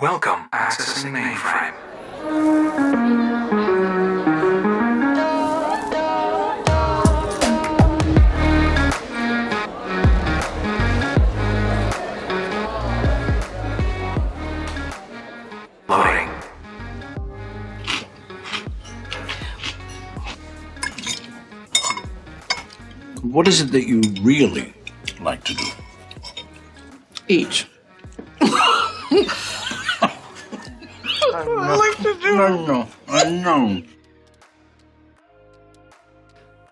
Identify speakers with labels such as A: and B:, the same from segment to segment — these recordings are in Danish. A: Welcome. Accessing mainframe. Loading.
B: What is it that you really like to do?
C: Eat. I like to do.
B: I know, I know.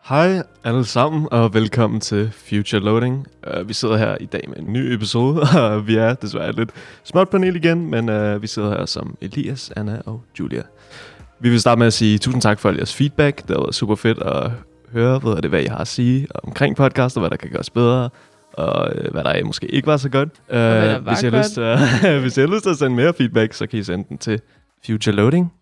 D: Hej alle sammen, og velkommen til Future Loading. Uh, vi sidder her i dag med en ny episode, og vi er desværre et lidt småt panel igen, men uh, vi sidder her som Elias, Anna og Julia. Vi vil starte med at sige tusind tak for al jeres feedback. Det har været super fedt at høre, hvad er det, hvad I har at sige omkring podcast, og hvad der kan gøres bedre, og øh, hvad der måske ikke var så godt. Uh,
C: der var
D: hvis, I har
C: godt.
D: lyst til at, hvis I har lyst til at sende mere feedback, så kan I sende den til futureloading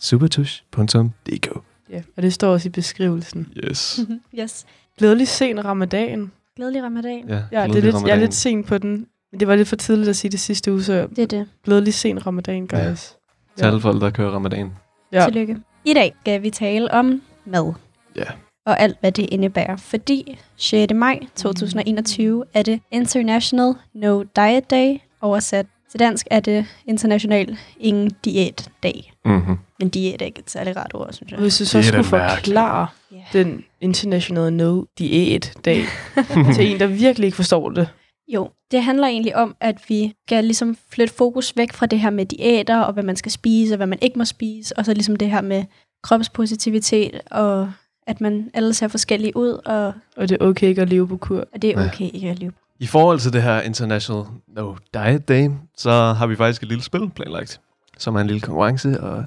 D: supertush.dk
C: Ja, og det står også i beskrivelsen.
D: Yes.
E: Yes.
C: Glædelig sen ramadan.
E: Glædelig ramadan.
D: Ja,
C: Ja, det er
D: glædelig
C: lidt, jeg er
D: ramadan.
C: lidt sen på den. Men det var lidt for tidligt at sige det sidste uge, så
E: Det er det.
C: glædelig sen ramadan,
D: Ja.
C: guys.
D: Til alle folk, der kører ramadan.
C: Ja.
E: Ja. Tillykke. I dag skal vi tale om mad.
D: Ja.
E: Og alt, hvad det indebærer. Fordi 6. maj 2021 er det International No Diet Day, oversat til dansk er det International Ingen Diæt Dag.
D: Mm-hmm.
E: Men diæt er ikke et særligt rart ord, synes jeg.
C: Hvis du så
D: Det er
C: skulle
D: da mærkeligt.
C: forklare
E: Ja.
C: den internationale no diæt dag til en, der virkelig ikke forstår det.
E: Jo, det handler egentlig om, at vi skal ligesom flytte fokus væk fra det her med diæter, og hvad man skal spise, og hvad man ikke må spise, og så ligesom det her med kropspositivitet, og at man alle ser forskellige ud, og,
C: Og det er okay ikke at leve på kur.
E: og det er
D: Ja.
E: okay ikke at leve.
D: I forhold til det her International No Diet Day, så har vi faktisk et lille spil planlagt, som er en lille konkurrence, og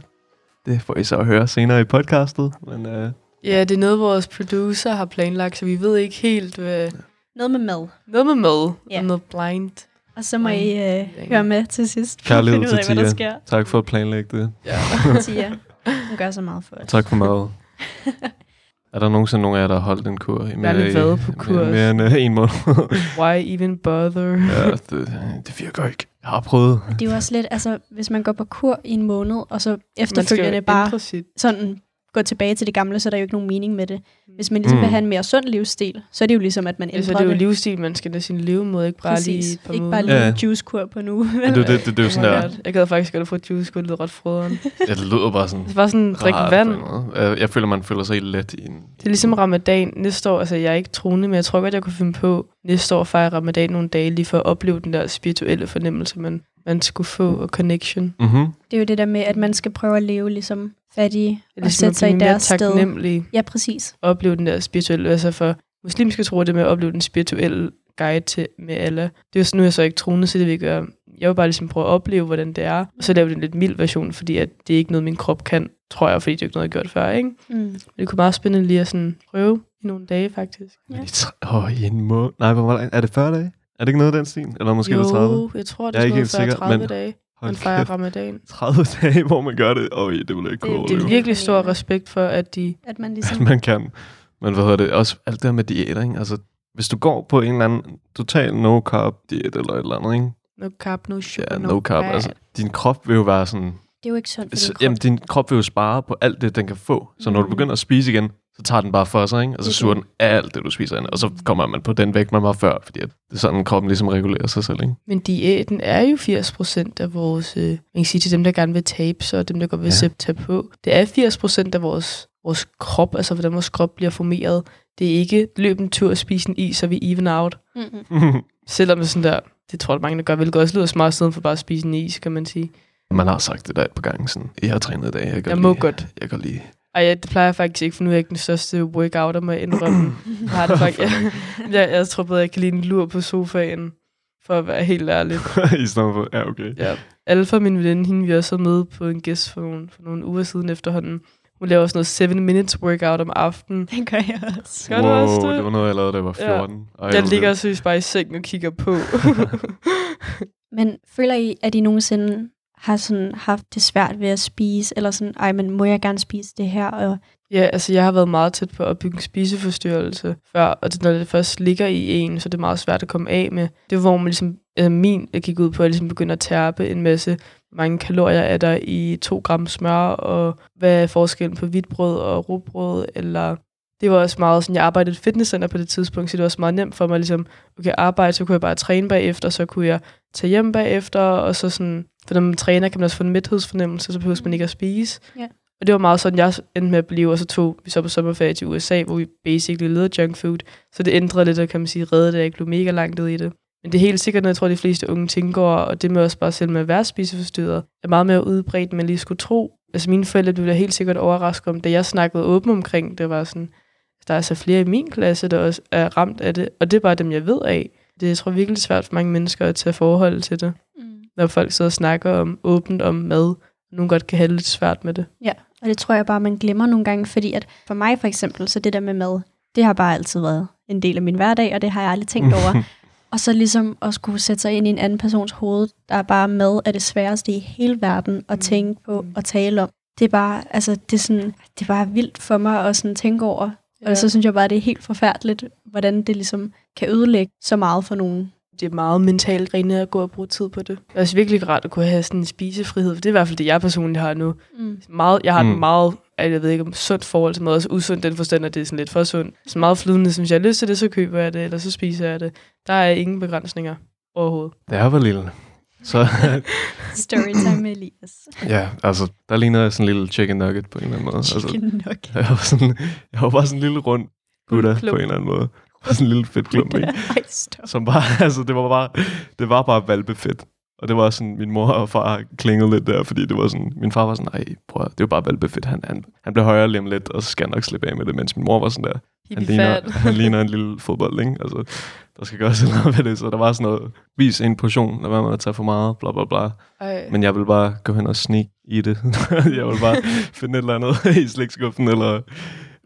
D: det får I så at høre senere i podcastet. Men øh,
C: Ja, det er noget, vores producer har planlagt, så vi ved ikke helt, hvad...
E: Noget med mad.
C: Noget med mad,
E: Ja.
C: og noget blind.
E: Og så må
C: Ej,
E: I øh,
C: det er
E: høre med til sidst. for at
D: Kærlighed
E: finde ud
D: til
E: af, hvad der
D: Tia.
E: sker.
D: tak for at planlægge det.
E: Tia, hun gør så meget for os.
D: Tak for mad. Er der nogensinde nogen af jer, der har holdt en kur? i mere-
C: lidt været på
D: i-
C: kur også.
D: Mere end øh, en måned.
C: Why even bother?
D: ja, det, det virker ikke. Jeg har prøvet.
E: Det er jo også lidt, altså hvis man går på kur i en måned, og så
C: Man skal jo
E: efterfølgende bare
C: ændre sit
E: sådan går tilbage til det gamle, så er der jo ikke nogen mening med det. Hvis man ligesom
D: Mm.
E: mm. vil have en mere sund livsstil, så er det jo ligesom, at man ændrer
C: Ja, så det er jo livsstil, man skal da sin levemåde, ikke bare
E: Præcis.
C: lige et par
E: ikke
C: måneder.
E: bare lige
D: Ja.
E: en juicekur på nu.
D: Men Det, det, det, det er jo sådan
C: Oh my
D: der,
C: God. Jeg gad faktisk godt at få et juice, det lyder ret froderen.
D: ja, det lyder bare sådan
C: Det var sådan, drik
D: rart på
C: vand.
D: en måde. Øh, Jeg føler, man føler sig let i en...
C: Det er ligesom ramadan næste år. Altså, jeg er ikke troende, men jeg tror godt, jeg kunne finde på næste år at fejre ramadan nogle dage, lige for at opleve den der spirituelle fornemmelse, man, man skulle få, og connection.
D: Mm-hmm.
E: Det er jo det der med, at man skal prøve at leve ligesom fattige,
C: Det
E: og
C: er ligesom
E: sætte
C: at
E: sig i
C: blive mere
E: deres sted.
C: taknemmelig,
E: Ja, præcis.
C: at opleve den der spirituelle, altså for muslimske tror det med at opleve den spirituelle guide til, med alle. Det er jo sådan, nu er jeg så ikke troende, så det vil jeg ikke gøre. Jeg vil bare ligesom prøve at opleve, hvordan det er, og så lave den lidt mild version, fordi at det er ikke noget, min krop kan, tror jeg, fordi det er jo ikke noget, jeg har gjort før, ikke?
E: Mm.
C: Det kunne være meget spændende lige at sådan prøve i nogle dage, faktisk.
E: Ja.
D: Åh, oh, i en måned. Nej, hvor meget er det 40 dage? Er det ikke noget af den stil? Eller måske er det 30?
C: jo, jeg tror, det
D: Jeg er
C: er
D: ikke
C: sådan
D: helt
C: noget
D: sikker,
C: 40 30
D: men-
C: dage, man
D: Hold
C: fejrer
D: kæft.
C: ramadan.
D: 30 dage, hvor man gør det. Åh, oh, det ville jeg ikke
E: Det-
D: kunne
C: Det er
D: overleve,
C: virkelig stor respekt for, at de...
E: At man
D: at
E: ligesom...
D: man kan. Men hvad hedder det? Også alt det her med diæter, ikke? Altså, hvis du går på en eller anden total no-carb-diæt eller et eller andet, ikke?
C: No carb, no sugar,
D: Ja, no-carb.
C: fat.
D: Altså, din krop vil jo være sådan...
E: Det er jo ikke sundt for
D: Så,
E: din krop.
D: Altså, jamen, din krop vil jo spare på alt det, den kan få. Så når du
E: Mm.
D: begynder at spise igen, så tager den bare for sig, ikke? Og så
E: Det er
D: suger den
E: det.
D: alt det, du spiser ind. Og så kommer man på den vægt, man var før, fordi at det er sådan, kroppen ligesom regulerer sig selv, ikke?
C: Men diæten er jo 80% af vores... Øh, man kan sige til dem, der gerne vil tabe sig, og dem, der godt vil
D: Ja.
C: ja. tage på. Det er 80% af vores, vores krop, altså hvordan vores krop bliver formeret. Det er ikke løb en tur og spise en is, så er vi even out.
E: Mm-mm.
C: Selvom det er sådan der... Det tror jeg, mange der gør, hvilket også lyder smart, siden for bare at spise en is, kan man sige.
D: Man har sagt det der et par gange, sådan, jeg har trænet i dag, jeg, kan
C: Jeg må
D: lide,
C: godt.
D: Jeg kan lige.
C: Ej, ja, det plejer jeg faktisk ikke, for nu er jeg ikke den største workouter med at indrømme. jeg, har det faktisk, jeg, jeg, jeg tror bedre, jeg kan lide en lur på sofaen, for at være helt ærlig.
D: I stedet for, ja, okay.
C: Ja. Alfa, min veninde, hende vi også havde med på en gæst for nogle, for nogle uger siden efterhånden. Hun laver også noget 7 minutes workout om aftenen.
E: Det gør jeg også.
C: Gør du
D: wow,
C: også det?
D: det var noget, jeg lavede, da jeg var
C: Ja.
D: 14. Ja.
C: Jeg ligger seriøst bare i sengen og kigger på.
E: Men føler I, at I nogensinde har sådan haft det svært ved at spise, eller sådan, ej, men må jeg gerne spise det her? Og
C: Ja, altså jeg har været meget tæt på at bygge en spiseforstyrrelse før, og det, når det først ligger i en, så er det meget svært at komme af med. Det var, hvor man ligesom, altså min jeg gik ud på, at ligesom begynde at tærpe en masse, hvor mange kalorier er der i 2 gram smør, og hvad er forskellen på hvidt brød og rugbrød, eller det var også meget sådan, jeg arbejdede i et fitnesscenter på det tidspunkt, så det var også meget nemt for mig ligesom, okay, arbejde, så kunne jeg bare træne bagefter, så kunne jeg tage hjem bagefter, og så sådan, for når man træner, kan man også få en mæthedsfornemmelse, så behøver man ikke at spise. Og det var meget sådan, jeg endte med at blive, og så tog vi så på sommerferie til USA, hvor vi basically leder junk food. Så det ændrede lidt, og kan man sige, reddede det, at jeg ikke blev mega langt ud i det. Men det er helt sikkert noget, jeg tror, de fleste unge tænker over, og det med også bare selv med at være spiseforstyrret, er meget mere udbredt, end man lige skulle tro. Altså mine forældre blev da helt sikkert overrasket om, da jeg snakkede åbent omkring, det var sådan, der er altså flere i min klasse, der også er ramt af det, og det er bare dem, jeg ved af. Det er, jeg tror virkelig svært for mange mennesker at tage forhold til det,
E: Mm.
C: når folk sidder og snakker om, åbent om mad. Nogen godt kan have det lidt svært med det.
E: Og det tror jeg bare, man glemmer nogle gange, fordi at for mig for eksempel, så det der med mad, det har bare altid været en del af min hverdag, og det har jeg aldrig tænkt over. og så ligesom at skulle sætte sig ind i en anden persons hoved, der er bare mad er det sværeste i hele verden at tænke på og tale om. Det er bare, altså, det er sådan, det er bare vildt for mig at sådan tænke over. Ja. Og så synes jeg bare, det er helt forfærdeligt, hvordan det ligesom kan ødelægge så meget for nogen.
C: det er meget mentalt rene at gå og bruge tid på det. Det er også virkelig rart at kunne have sådan en spisefrihed, for det er i hvert fald det, jeg personligt har nu.
E: Mm.
C: Meget, jeg har mm.
D: Mm.
C: et meget, altså, jeg ved ikke om sundt forhold til mad, også usundt den forstand, at det er sådan lidt for sundt. Så meget flydende, som jeg har lyst til det, så køber jeg det, eller så spiser jeg det. Der er ingen begrænsninger overhovedet.
D: Da jeg var lille, så
E: Storytime med Elias.
D: ja, altså, der lignede jeg sådan en lille chicken nugget på en eller anden måde. Altså,
E: Chicken nugget.
D: jeg, var sådan, jeg var bare sådan en lille rund Buddha
C: Klump.
D: på en eller anden måde. Jeg var sådan en lille fedt klump, ikke?
E: Ej, stop.
D: Som bare, altså, det var bare, det var bare valbefedt. Og det var sådan, min mor og far klingede lidt der, fordi det var sådan, min far var sådan, nej, prøv at- det var bare valbefedt. Han, han, han blev højere lem lidt, og så skal han nok slippe af med det, mens min mor var sådan der, han ligner, han ligner en lille fodbold, ikke? Altså, der skal gøres et eller andet ved det, så der var sådan noget, vis en portion, lad være med at tage for meget, bla bla bla.
C: Men,
D: Men jeg ville bare gå hen og sneak i det. jeg ville bare finde et eller andet i slikskuffen, eller,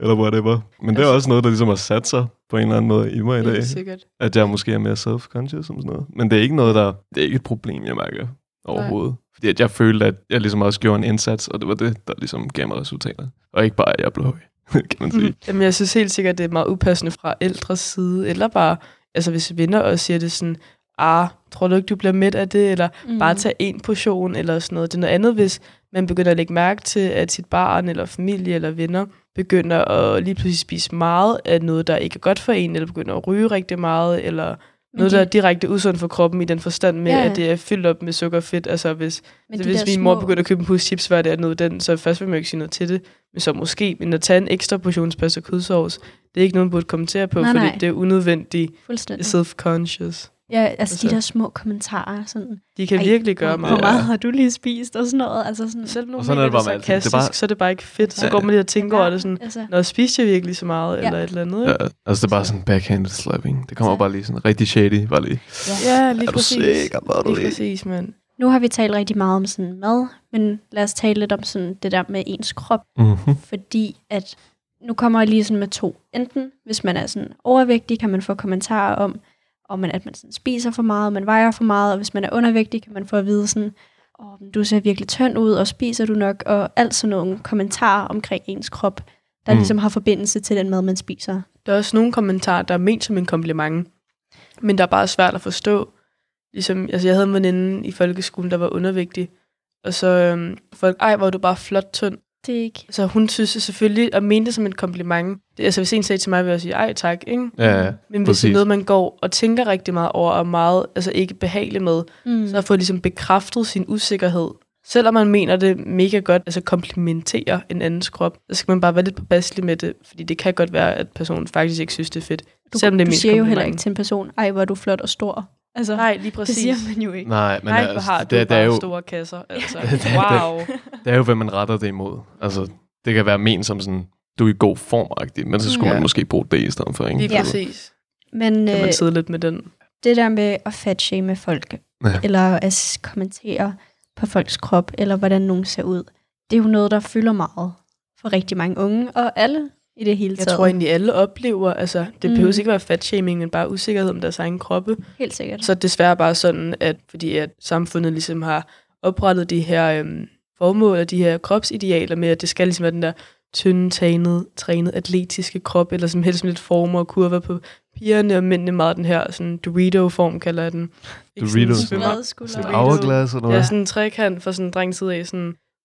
D: eller whatever. Men det er
C: Altså-
D: også noget, der ligesom har sat sig på en eller anden måde i mig i dag.
C: Helt sikkert.
D: At jeg måske er mere self-conscious om sådan noget. Men det er ikke noget, der... Det er ikke et problem, jeg mærker overhovedet. Fordi at jeg følte, at jeg ligesom også gjorde en indsats, og det var det, der ligesom gav mig resultater. Og ikke bare, at jeg blev høj, kan man sige.
C: Jamen, jeg synes helt sikkert, det er meget upassende fra ældres side, eller bare, altså hvis venner også siger det sådan, ah, tror du ikke, du bliver mæt af det, eller
E: Mm.
C: bare tage en portion eller sådan noget. Det er noget andet, hvis man begynder at lægge mærke til, at sit barn eller familie eller venner begynder at lige pludselig spise meget af noget, der ikke er godt for en, eller begynder at ryge rigtig meget, eller
E: Men
C: noget,
E: de-
C: der er direkte usundt for kroppen i den forstand med,
E: Ja,
C: Mm. ja.
E: ja.
C: at det er fyldt op med sukker og fedt. Altså hvis,
E: Men
C: altså,
E: de
C: hvis
E: der
C: min mor
E: små-
C: begynder at købe en pose chips hver dag og noget af den, så først vil man jo ikke sige noget til det. Men så måske, men at tage en ekstra portion pasta kødsovs, det er ikke nogen, man burde kommentere på,
E: Nej,
C: fordi
E: nej.
C: det er unødvendigt
E: Fuldstændig.
C: self-conscious.
E: Ja, altså de
C: Altså-
E: der små kommentarer, sådan,
C: De kan
E: Ej,
C: Ej, virkelig gøre
E: hvor,
C: meget.
E: hvor
D: Ja.
E: meget har du lige spist, og sådan noget, altså sådan,
C: Selv nu
D: Og sådan
C: mener
D: er det bare
C: det
D: med alting. Det er
C: sarkastisk,
D: bare-
C: så er det bare ikke fedt. Så
D: Ja.
C: går man lige og tænker over det sådan,
E: altså,
C: Nå, spiste jeg virkelig så meget,
E: Ja.
C: ja. eller et eller andet.
D: Ja,
C: Ja,
D: altså det er bare sådan backhanded slapping. Det kommer
E: Altså-
D: bare lige sådan rigtig shady. Bare lige,
C: ja lige
D: er du
C: præcis.
D: sikker på det?
C: Lige præcis, mand.
E: nu har vi talt rigtig meget om sådan mad, men lad os tale lidt om sådan det der med ens krop,
D: Mm-hmm.
E: fordi at, nu kommer jeg lige sådan med to. Enten, hvis man er sådan overvægtig, kan man få kommentarer om, om man, at man sådan spiser for meget, og man vejer for meget, og hvis man er undervægtig, kan man få at vide sådan, oh, du ser virkelig tynd ud, og spiser du nok, og alt sådan nogle kommentarer omkring ens krop, der
D: Mm.
E: mm. ligesom har forbindelse til den mad, man spiser.
C: Der er også nogle kommentarer, der er ment som en kompliment, men der er bare svært at forstå. Ligesom, altså jeg havde en veninde i folkeskolen, der var undervægtig, og så øhm, folk, ej, hvor er du bare flot tynd.
E: Det er ikke...
C: Så hun synes selvfølgelig, og mente det som et kompliment. Det, altså hvis en sagde til mig, ville jeg sige, ej tak, ikke?
D: Ja, ja.
C: Men hvis det
D: præcis.
C: er noget, man går og tænker rigtig meget over, og er meget altså ikke behagelig med,
E: Mm.
C: så har fået ligesom bekræftet sin usikkerhed. Selvom man mener det mega godt, altså komplimenterer en andens krop, så skal man bare være lidt påpasselig med det, fordi det kan godt være, at personen faktisk ikke synes, det er fedt.
E: Du,
C: selvom det er
E: du
C: mest
E: siger jo heller
C: komplimenten.
E: ikke til en person, ej, hvor er du flot og stor. Altså,
C: Nej, lige
E: det
C: præcis.
E: siger man jo ikke.
D: Nej, men
C: Nej, hvor
D: altså,
C: har
D: det, det, er jo,
C: store kasser. Altså.
D: Det er-
C: Wow.
D: det er jo, hvad man retter det imod. Altså, det kan være ment som sådan, du er i god form men så skulle
C: Ja.
D: man måske bruge det i stedet for, ikke? Altså,
C: Lige
E: Ja.
C: præcis.
E: Men
C: Kan
E: øh,
C: man sidde lidt med den.
E: det der med at fatshame folk,
D: Ja.
E: ja. eller at s- kommentere på folks krop, eller hvordan nogen ser ud, det er jo noget, der fylder meget for rigtig mange unge, og alle i det hele
C: Jeg
E: taget.
C: tror egentlig, alle oplever, altså det
E: Mm.
C: behøver ikke være fatshaming, men bare usikkerhed om deres egen kroppe.
E: Helt sikkert.
C: Så er det desværre bare sådan, at fordi at samfundet ligesom har oprettet de her øhm, formål og de her kropsidealer med, at det skal ligesom være den der tynde, tanede, trænet, atletiske krop, eller som helst med lidt former og kurver på pigerne, og mændene meget den her sådan Dorito-form, kalder jeg den. Ikke sådan
D: Doritos.
C: svømmer-
E: Brede
D: Sådan
E: skuldre.
C: Doritos.
D: en hourglass eller noget.
C: Ja, sådan en trekant fra sådan en drengs side af, sådan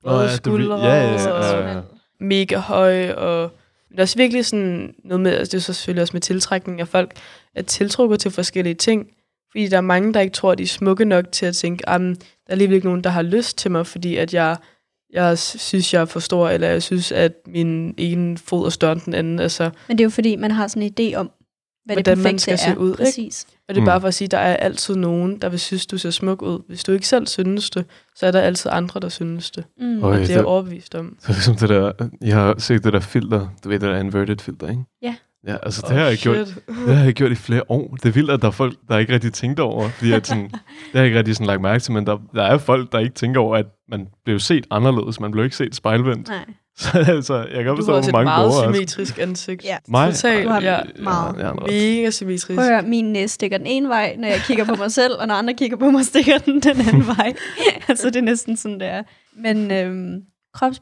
D: Nå, ja,
C: brede
D: Dori-
C: skuldre
D: ja, ja, ja,
C: og
D: ja, ja.
C: mega høj, og men der er også virkelig sådan noget med, altså det er så selvfølgelig også med tiltrækning af folk, at tiltrukket til forskellige ting, fordi der er mange, der ikke tror, at de er smukke nok til at tænke, at der er alligevel ikke nogen, der har lyst til mig, fordi at jeg, jeg synes, jeg er for stor, eller jeg synes, at min ene fod er større end den anden. Altså,
E: Men det er jo fordi, man har sådan en idé om, hvad
C: Hvordan
E: det
C: man
E: perfekte
C: skal se
E: er.
C: ud, ikke?
E: Præcis.
C: og det er
D: Mm.
C: bare for at sige, at der er altid nogen, der vil synes, du ser smuk ud. Hvis du ikke selv synes det, så er der altid andre, der synes det.
E: Mm.
D: Øj,
C: Og det er jeg
D: det,
C: overbevist om.
D: det er ligesom det der, jeg har set det der filter, du ved det der inverted filter, ikke?
E: Ja.
D: Ja, altså det har jeg gjort, Det har jeg gjort i flere år. Det er vildt, at der er folk, der ikke rigtig tænkte over. Fordi at sådan, det har jeg ikke rigtig sådan lagt mærke til, men der, der er folk, der ikke tænker over, at man blev set anderledes. Man blev ikke set spejlvendt.
E: Nej.
D: Så altså, jeg kan godt
C: Du har
D: forstå,
C: også
D: hvor
C: et
D: mange
C: meget
D: borgere...
C: symmetrisk ansigt.
E: Ja.
D: Mig?
C: Totalt,
E: Du har
C: ja.
E: meget.
D: Ja, ja, ja,
C: Mega symmetrisk.
E: Prøv at høre, min næse stikker den ene vej, når jeg kigger på mig selv, og når andre kigger på mig, stikker den den anden vej. altså, det er næsten sådan, det er. Men øhm,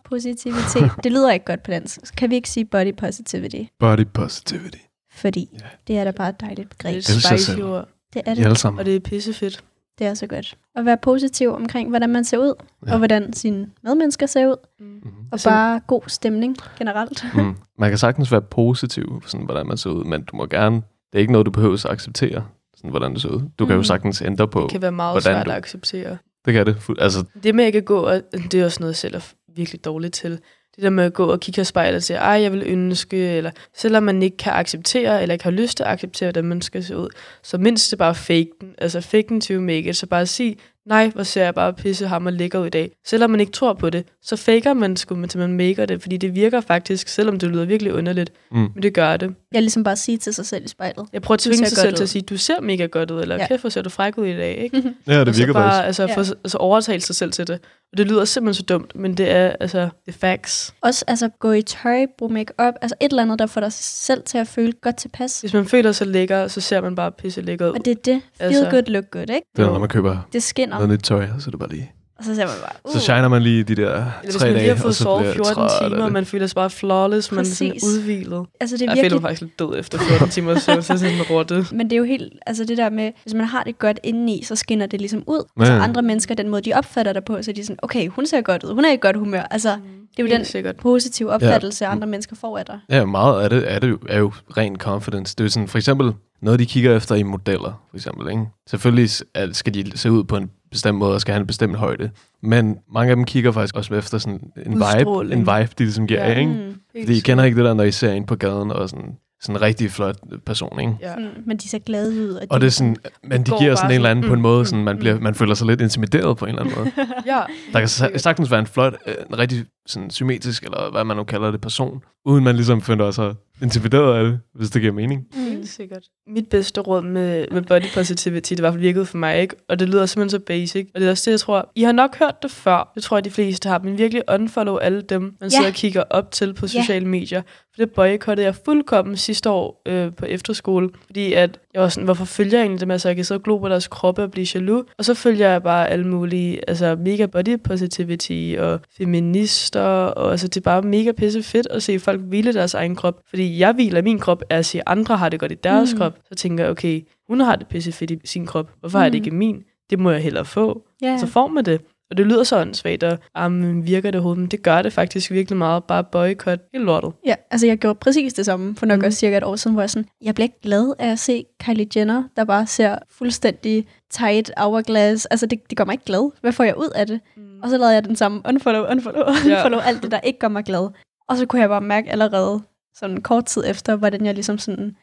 E: kropspositivitet, det lyder ikke godt på dansk. Kan vi ikke sige body positivity?
D: Body positivity.
E: Fordi
D: Ja.
E: det er da bare et dejligt
C: Det er
E: begreb.
C: et
D: Elsker
C: spicy
D: selv.
C: ord,
E: Det er
D: I alle
E: det.
D: sammen.
C: og det er pissefedt.
E: Det er så godt. At være positiv omkring, hvordan man ser ud,
D: Ja.
E: og hvordan sine medmennesker ser ud,
D: Mhm.
E: og
C: Altså-
E: bare god stemning generelt.
D: Mm. Man kan sagtens være positiv, sådan, hvordan man ser ud, men du må gerne... Det er ikke noget, du behøver at acceptere, sådan, hvordan du ser ud. Du kan jo
E: Mm.
D: sagtens ændre på...
C: Mhm. Det kan være meget
D: hvordan
C: svært
D: du-
C: at acceptere.
D: Det kan det. Fu- Altså,
C: Det med ikke at gå, og det er også noget, jeg selv er virkelig dårligt til. Det der med at gå og kigge i spejlet og sige, ej, jeg vil ønske, eller selvom man ikke kan acceptere, eller ikke har lyst til at acceptere, hvordan man skal se ud, så mindst det bare fake den. Altså fake den to make it, så bare sig, nej, hvor ser jeg bare pisse ham og lækker ud i dag. Selvom man ikke tror på det, så faker man sgu, men til man maker det, fordi det virker faktisk, selvom det lyder virkelig underligt,
D: Mm.
C: men det gør det.
E: Jeg ligesom bare sige til sig selv i spejlet.
C: Jeg prøver at
E: Du
C: tvinge
E: ser
C: sig
E: godt
C: selv til
E: ud.
C: at sige, du ser mega godt ud, eller
E: Ja. Mhm.
C: kæft, hvor ser du fræk ud i dag, ikke?
D: ja,
C: Og
D: det
C: så
D: virker
C: bare,
D: faktisk.
C: altså,
E: Ja.
C: for, altså overtale sig selv til det. Og det lyder simpelthen så dumt, men det er altså the facts.
E: Også altså gå i tøj, bruge makeup, altså et eller andet, der får dig selv til at føle godt tilpas.
C: Hvis man føler sig lækker, så ser man bare pisse lækker ud.
E: Og det er det. Feel
C: Altså-
E: altså, good, look good, ikke?
D: Det er, når man køber
E: Det skinner.
D: noget nyt tøj, så er det bare lige...
E: Og så ser man bare, uh,
D: Så shiner man lige de der
C: Eller hvis
D: tre
C: man lige
D: dage,
C: har fået sovet 14 timer, og man føler sig bare flawless, man er sådan
E: Præcis.
C: udhvilet.
E: altså det er
C: Jeg føler mig
E: virkelig...
C: faktisk lidt død efter 14 timer, så så er jeg sådan en rotte.
E: Men det er jo helt, altså det der med, hvis man har det godt indeni, så skinner det ligesom ud. Ja. Så
D: Ja.
E: andre mennesker, den måde, de opfatter dig på, så er de sådan, okay, hun ser godt ud, hun er i godt humør. Altså, det er jo den
C: Mm. Helt sikkert.
E: positive opfattelse,
D: Mm.
E: andre mennesker får af dig.
D: Ja, meget af det er, det jo, er jo ren confidence. Det er jo sådan, for eksempel, noget de kigger efter i modeller, for eksempel. Ikke? Selvfølgelig s- at- skal de se ud på en bestemt måde, og skal have en bestemt højde. Men mange af dem kigger faktisk også efter sådan en vibe,
C: Udstråling.
D: en vibe, de ligesom giver
C: Ja.
D: ja. af. Ikke?
E: Mm.
D: Fordi I kender ikke det der, når I ser en på gaden, og sådan, sådan en rigtig flot person, ikke?
C: Ja.
E: Mm, men de ser glade ud. Og,
D: Og det er sådan, men de
C: går
D: giver
C: bare
D: sådan en eller anden på en
C: sådan, mm,
D: måde, sådan, man, bliver, man føler sig lidt intimideret på en eller anden måde.
C: ja.
D: Der kan sa- sagtens være en flot, øh, en rigtig sådan, symmetrisk, eller hvad man nu kalder det, person, uden man ligesom finder sig intimideret af det, hvis det giver mening.
E: mm.
C: Helt sikkert. Mit bedste råd med, med body positivity, det var virkede for mig, ikke? Og det lyder simpelthen så basic. Og det er også det, jeg tror, I har nok hørt det før. Det tror jeg, de fleste har. Men virkelig unfollow alle dem, man
E: Ja.
C: sidder og kigger op til på
E: Ja.
C: sociale medier. For det boykottede jeg fuldkommen sidste år øh, på efterskole. Fordi at jeg var sådan, hvorfor følger jeg egentlig dem? Altså, jeg kan sidde og glo på deres kroppe og blive jaloux. Og så følger jeg bare alle mulige, altså mega body positivity og feminister. Og altså, det er bare mega pisse fedt at se folk hvile deres egen krop. Fordi jeg hviler i min krop, er at se, at andre har det godt i deres
E: Mm.
C: mm. krop. Så tænker jeg, okay, hun har det pisse fedt i sin krop. Hvorfor mm. har jeg det
E: Mm.
C: ikke i min? Det må jeg hellere få
E: Ja.
C: så får man det. Og det lyder sådan svært, og ah, men virker det overhovedet, men det gør det faktisk virkelig meget. Bare boykot helt lortet.
E: Ja, altså jeg gjorde præcis det samme for nok
C: Mhm.
E: mm. også cirka et år siden, hvor jeg sådan, jeg blev ikke glad af at se Kylie Jenner, der bare ser fuldstændig tight hourglass. Altså det, det gør mig ikke glad. Hvad får jeg ud af det? Mm. Og så lavede jeg den samme unfollow, unfollow,
C: Ja.
E: unfollow, alt det, der ikke gør mig glad. Og så kunne jeg bare mærke allerede sådan kort tid efter, hvordan jeg ligesom sådan,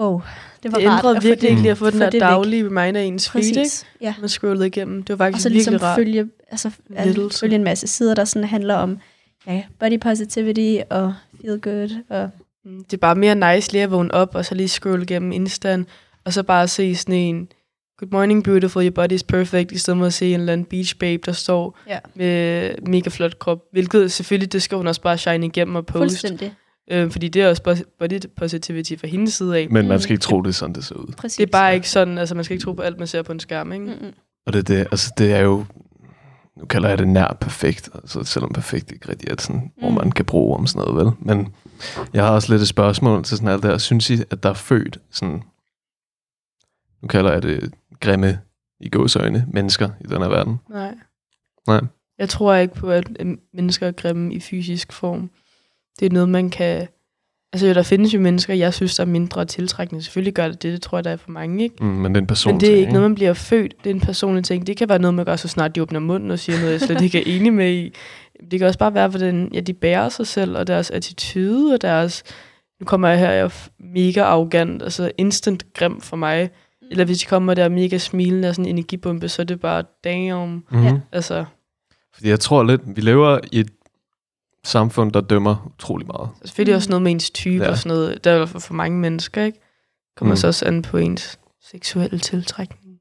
E: wow, det var
C: Det
E: rart
C: ændrede
E: at få
C: virkelig
E: det,
C: ikke lige at få den
E: få
C: der
E: det væk.
C: daglige reminder i ens feed, ikke?
E: Præcis, ja.
C: Man scrollede igennem. Det var
E: Og
C: faktisk
E: så ligesom
C: virkelig rart.
E: følge, altså,
C: Lettelse.
E: al- følge en masse sider, der sådan handler om ja, body positivity og feel good og
C: Mm, Det er bare mere nice lige at vågne op, og så lige scrolle igennem Insta'en, og så bare se sådan en, good morning beautiful, your body is perfect, i stedet for at se en eller anden beach babe, der står
E: Ja.
C: med mega flot krop. Hvilket selvfølgelig, det skal hun også bare shine igennem og poste.
E: fuldstændig.
C: Øh, fordi det er også bo- body positivity fra hendes side af.
D: Men man
E: Mm.
D: skal ikke tro, det er sådan, det ser ud.
E: Præcis. Mm.
C: Det er bare ikke sådan, altså man skal ikke tro på alt, man ser på en skærm, ikke?
E: Mm-mm.
D: Og det, er det, altså, det er jo nu kalder jeg det nær perfekt, altså, selvom perfekt ikke rigtig er et sådan, mm. hvor
E: Mm.
D: man kan bruge om sådan noget, vel? Men jeg har også lidt et spørgsmål til sådan alt det her. Synes I, at der er født sådan, nu kalder jeg det grimme i gåsøjne, mennesker i den her verden?
C: Nej.
D: Nej.
C: Jeg tror ikke på, at øh, mennesker er grimme i fysisk form. Det er noget, man kan... Altså, jo, der findes jo mennesker, jeg synes, der er mindre tiltrækkende. Selvfølgelig gør det det, det tror jeg, der er for mange, ikke?
D: Mm, men det er en person
C: Men det er ikke noget, man bliver født. Det er en personlig ting. Det kan være noget, man gør, så snart de åbner munden og siger noget, jeg slet ikke er enig med i. Det kan også bare være, hvordan ja, de bærer sig selv, og deres attitude, og deres... Nu kommer jeg her, jeg er f- mega arrogant, altså instant grim for mig.
E: Mm.
C: Eller hvis de kommer der og er mega smilende og sådan en energibombe, så er det bare, damn.
D: Mm-hmm.
E: Ja.
C: Altså,
D: Fordi jeg tror lidt, vi lever i et samfund, der dømmer utrolig meget.
C: selvfølgelig
E: Mm.
C: også noget med ens type
D: Ja.
C: ja. og sådan noget. Der er jo for, for mange mennesker, ikke?
D: Mm.
C: Kommer mm. så også an på ens seksuelle tiltrækning.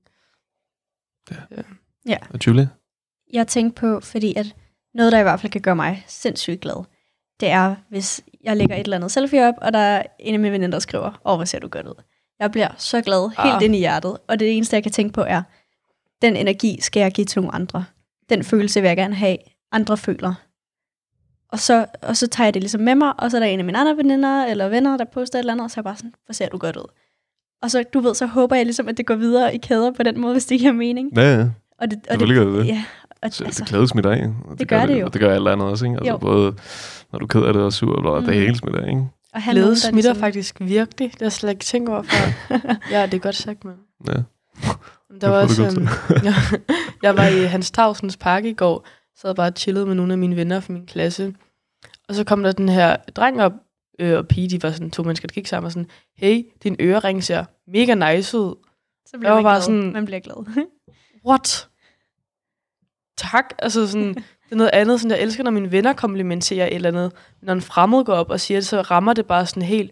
D: Og Julie?
E: jeg tænkte på, fordi at noget, der i hvert fald kan gøre mig sindssygt glad, det er, hvis jeg lægger et eller andet selfie op, og der er en af mine veninder, der skriver, åh, hvor ser du godt ud. Jeg bliver så glad helt
C: Ah.
E: ind i hjertet, og det eneste, jeg kan tænke på er, den energi skal jeg give til nogle andre. Den følelse vil jeg gerne have, andre føler. Og så, og så tager jeg det ligesom med mig, og så er der en af mine andre veninder eller venner, der poster et eller andet, og så er jeg bare sådan, hvor ser du godt ud. Og så, du ved, så håber jeg ligesom, at det går videre i kæder på den måde, hvis det giver mening.
D: Ja, ja.
E: Og det, og
D: Selvfølgelig gør det det.
E: Ja, og,
D: Så altså, det glædes mit af. og
E: det gør det jo.
D: Og det gør alt andet også, ikke? Altså jo.
E: Jo.
D: både, når du er ked af det og sur, og mm. det
E: Mm.
D: hele smidt af, ikke?
E: Og han
C: Glæde smitter ligesom... faktisk virkelig. Det har jeg slet ikke tænkt over før. ja, det er godt sagt, mand.
D: Ja.
C: Men Der var
D: Det får
C: også,
D: du
C: øhm, jeg, jeg var i Hans Tavsens Park i går, sad bare og chillede med nogle af mine venner fra min klasse. Og så kom der den her dreng op, øh, og pige, de var sådan to mennesker, der gik sammen og sådan, hey, din ørering ser mega nice ud.
E: så
C: bliver Jeg var man bare glad. sådan-
E: Man bliver glad.
C: What? Tak. Altså sådan, det er noget andet. Sådan, jeg elsker, når mine venner komplimenterer et eller andet. Når en fremmed går op og siger det, så rammer det bare sådan helt,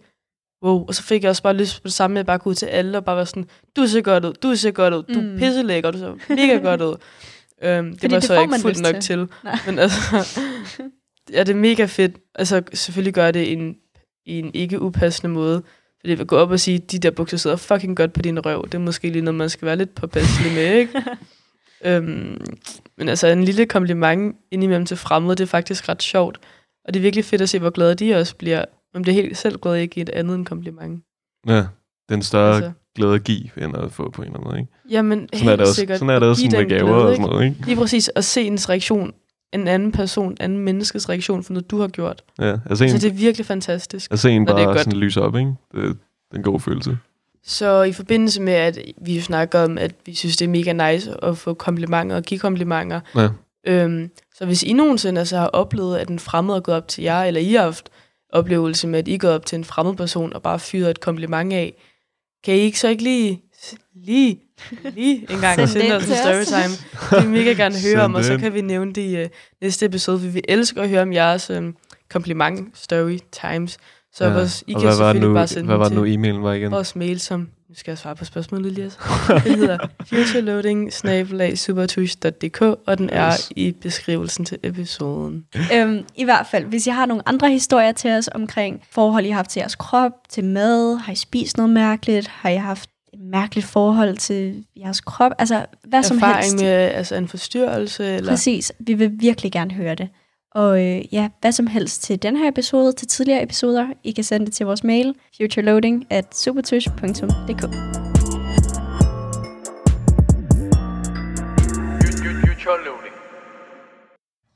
C: wow. Og så fik jeg også bare lyst på det samme, med at bare gå ud til alle og bare være sådan, du ser godt ud, du ser godt ud, du
E: Mm.
C: er pisselækker, du ser mega godt ud. Øhm, det
E: Fordi
C: var
E: det
C: så
E: får
C: ikke
E: man
C: fuldt
E: lyst
C: nok
E: til.
C: til.
E: Nej.
C: Men altså, ja, det er mega fedt. Altså, selvfølgelig gør jeg det i en, i en ikke upassende måde. Fordi at gå op og sige, de der bukser sidder fucking godt på din røv, det er måske lige noget, man skal være lidt påpasselig med, ikke? øhm, men altså, en lille kompliment indimellem til fremmede, det er faktisk ret sjovt. Og det er virkelig fedt at se, hvor glade de også bliver. Man bliver helt selv glad i at give et andet end kompliment.
D: Ja, det er en større altså.
C: Altså,
D: glæde at give, end at få på en eller anden måde, ikke?
C: jamen,
D: Sådan er
C: helt
D: det også,
C: sikkert.
D: sådan er det også
C: Giv
D: sådan med
C: den
D: gaver
C: glæde,
D: og
C: ikke?
D: sådan noget, ikke?
C: Lige præcis at se ens reaktion, en anden person, anden menneskes reaktion for noget, du har gjort.
D: Ja, altså en,
C: Så det er virkelig fantastisk.
D: altså en
C: Når det
D: bare
C: er godt.
D: sådan lyse op, ikke? Det, er- det er en god følelse.
C: Så i forbindelse med, at vi jo snakker om, at vi synes, det er mega nice at få komplimenter og give komplimenter.
D: Ja.
C: Øhm, så hvis I nogensinde altså har oplevet, at en fremmed er gået op til jer, eller I har haft oplevelse med, at I er gået op til en fremmed person og bare fyret et kompliment af, kan I ikke så ikke lige, lige, lige en gang
E: Send
C: sende
E: det
C: os en
E: til os.
C: storytime? Det vil vi mega gerne
D: Send
C: høre om, og så
D: det.
C: kan vi nævne det i øh, næste episode, for vi elsker at høre om jeres øh, kompliment story times. Så
D: ja.
C: ja. vores, I
D: og
C: kan
D: hvad var det
C: selvfølgelig
D: nu,
C: bare sende
D: hvad
C: den
D: var det
C: til
D: nu e-mailen var igen?
C: vores mail, som... Nu skal jeg svare på spørgsmålet lige altså. Den hedder futureloading og den
D: Yes.
C: er i beskrivelsen til episoden.
E: øhm, I hvert fald, hvis I har nogle andre historier til os omkring forhold, I har haft til jeres krop, til mad, har I spist noget mærkeligt, har I haft et mærkeligt forhold til jeres krop, altså hvad som
C: Erfaring
E: helst.
C: med altså en forstyrrelse, eller...
E: Præcis, vi vil virkelig gerne høre det. Og øh, ja, hvad som helst til den her episode, til tidligere episoder, I kan sende det til vores mail, futureloading at supertush.dk.
A: Future loading.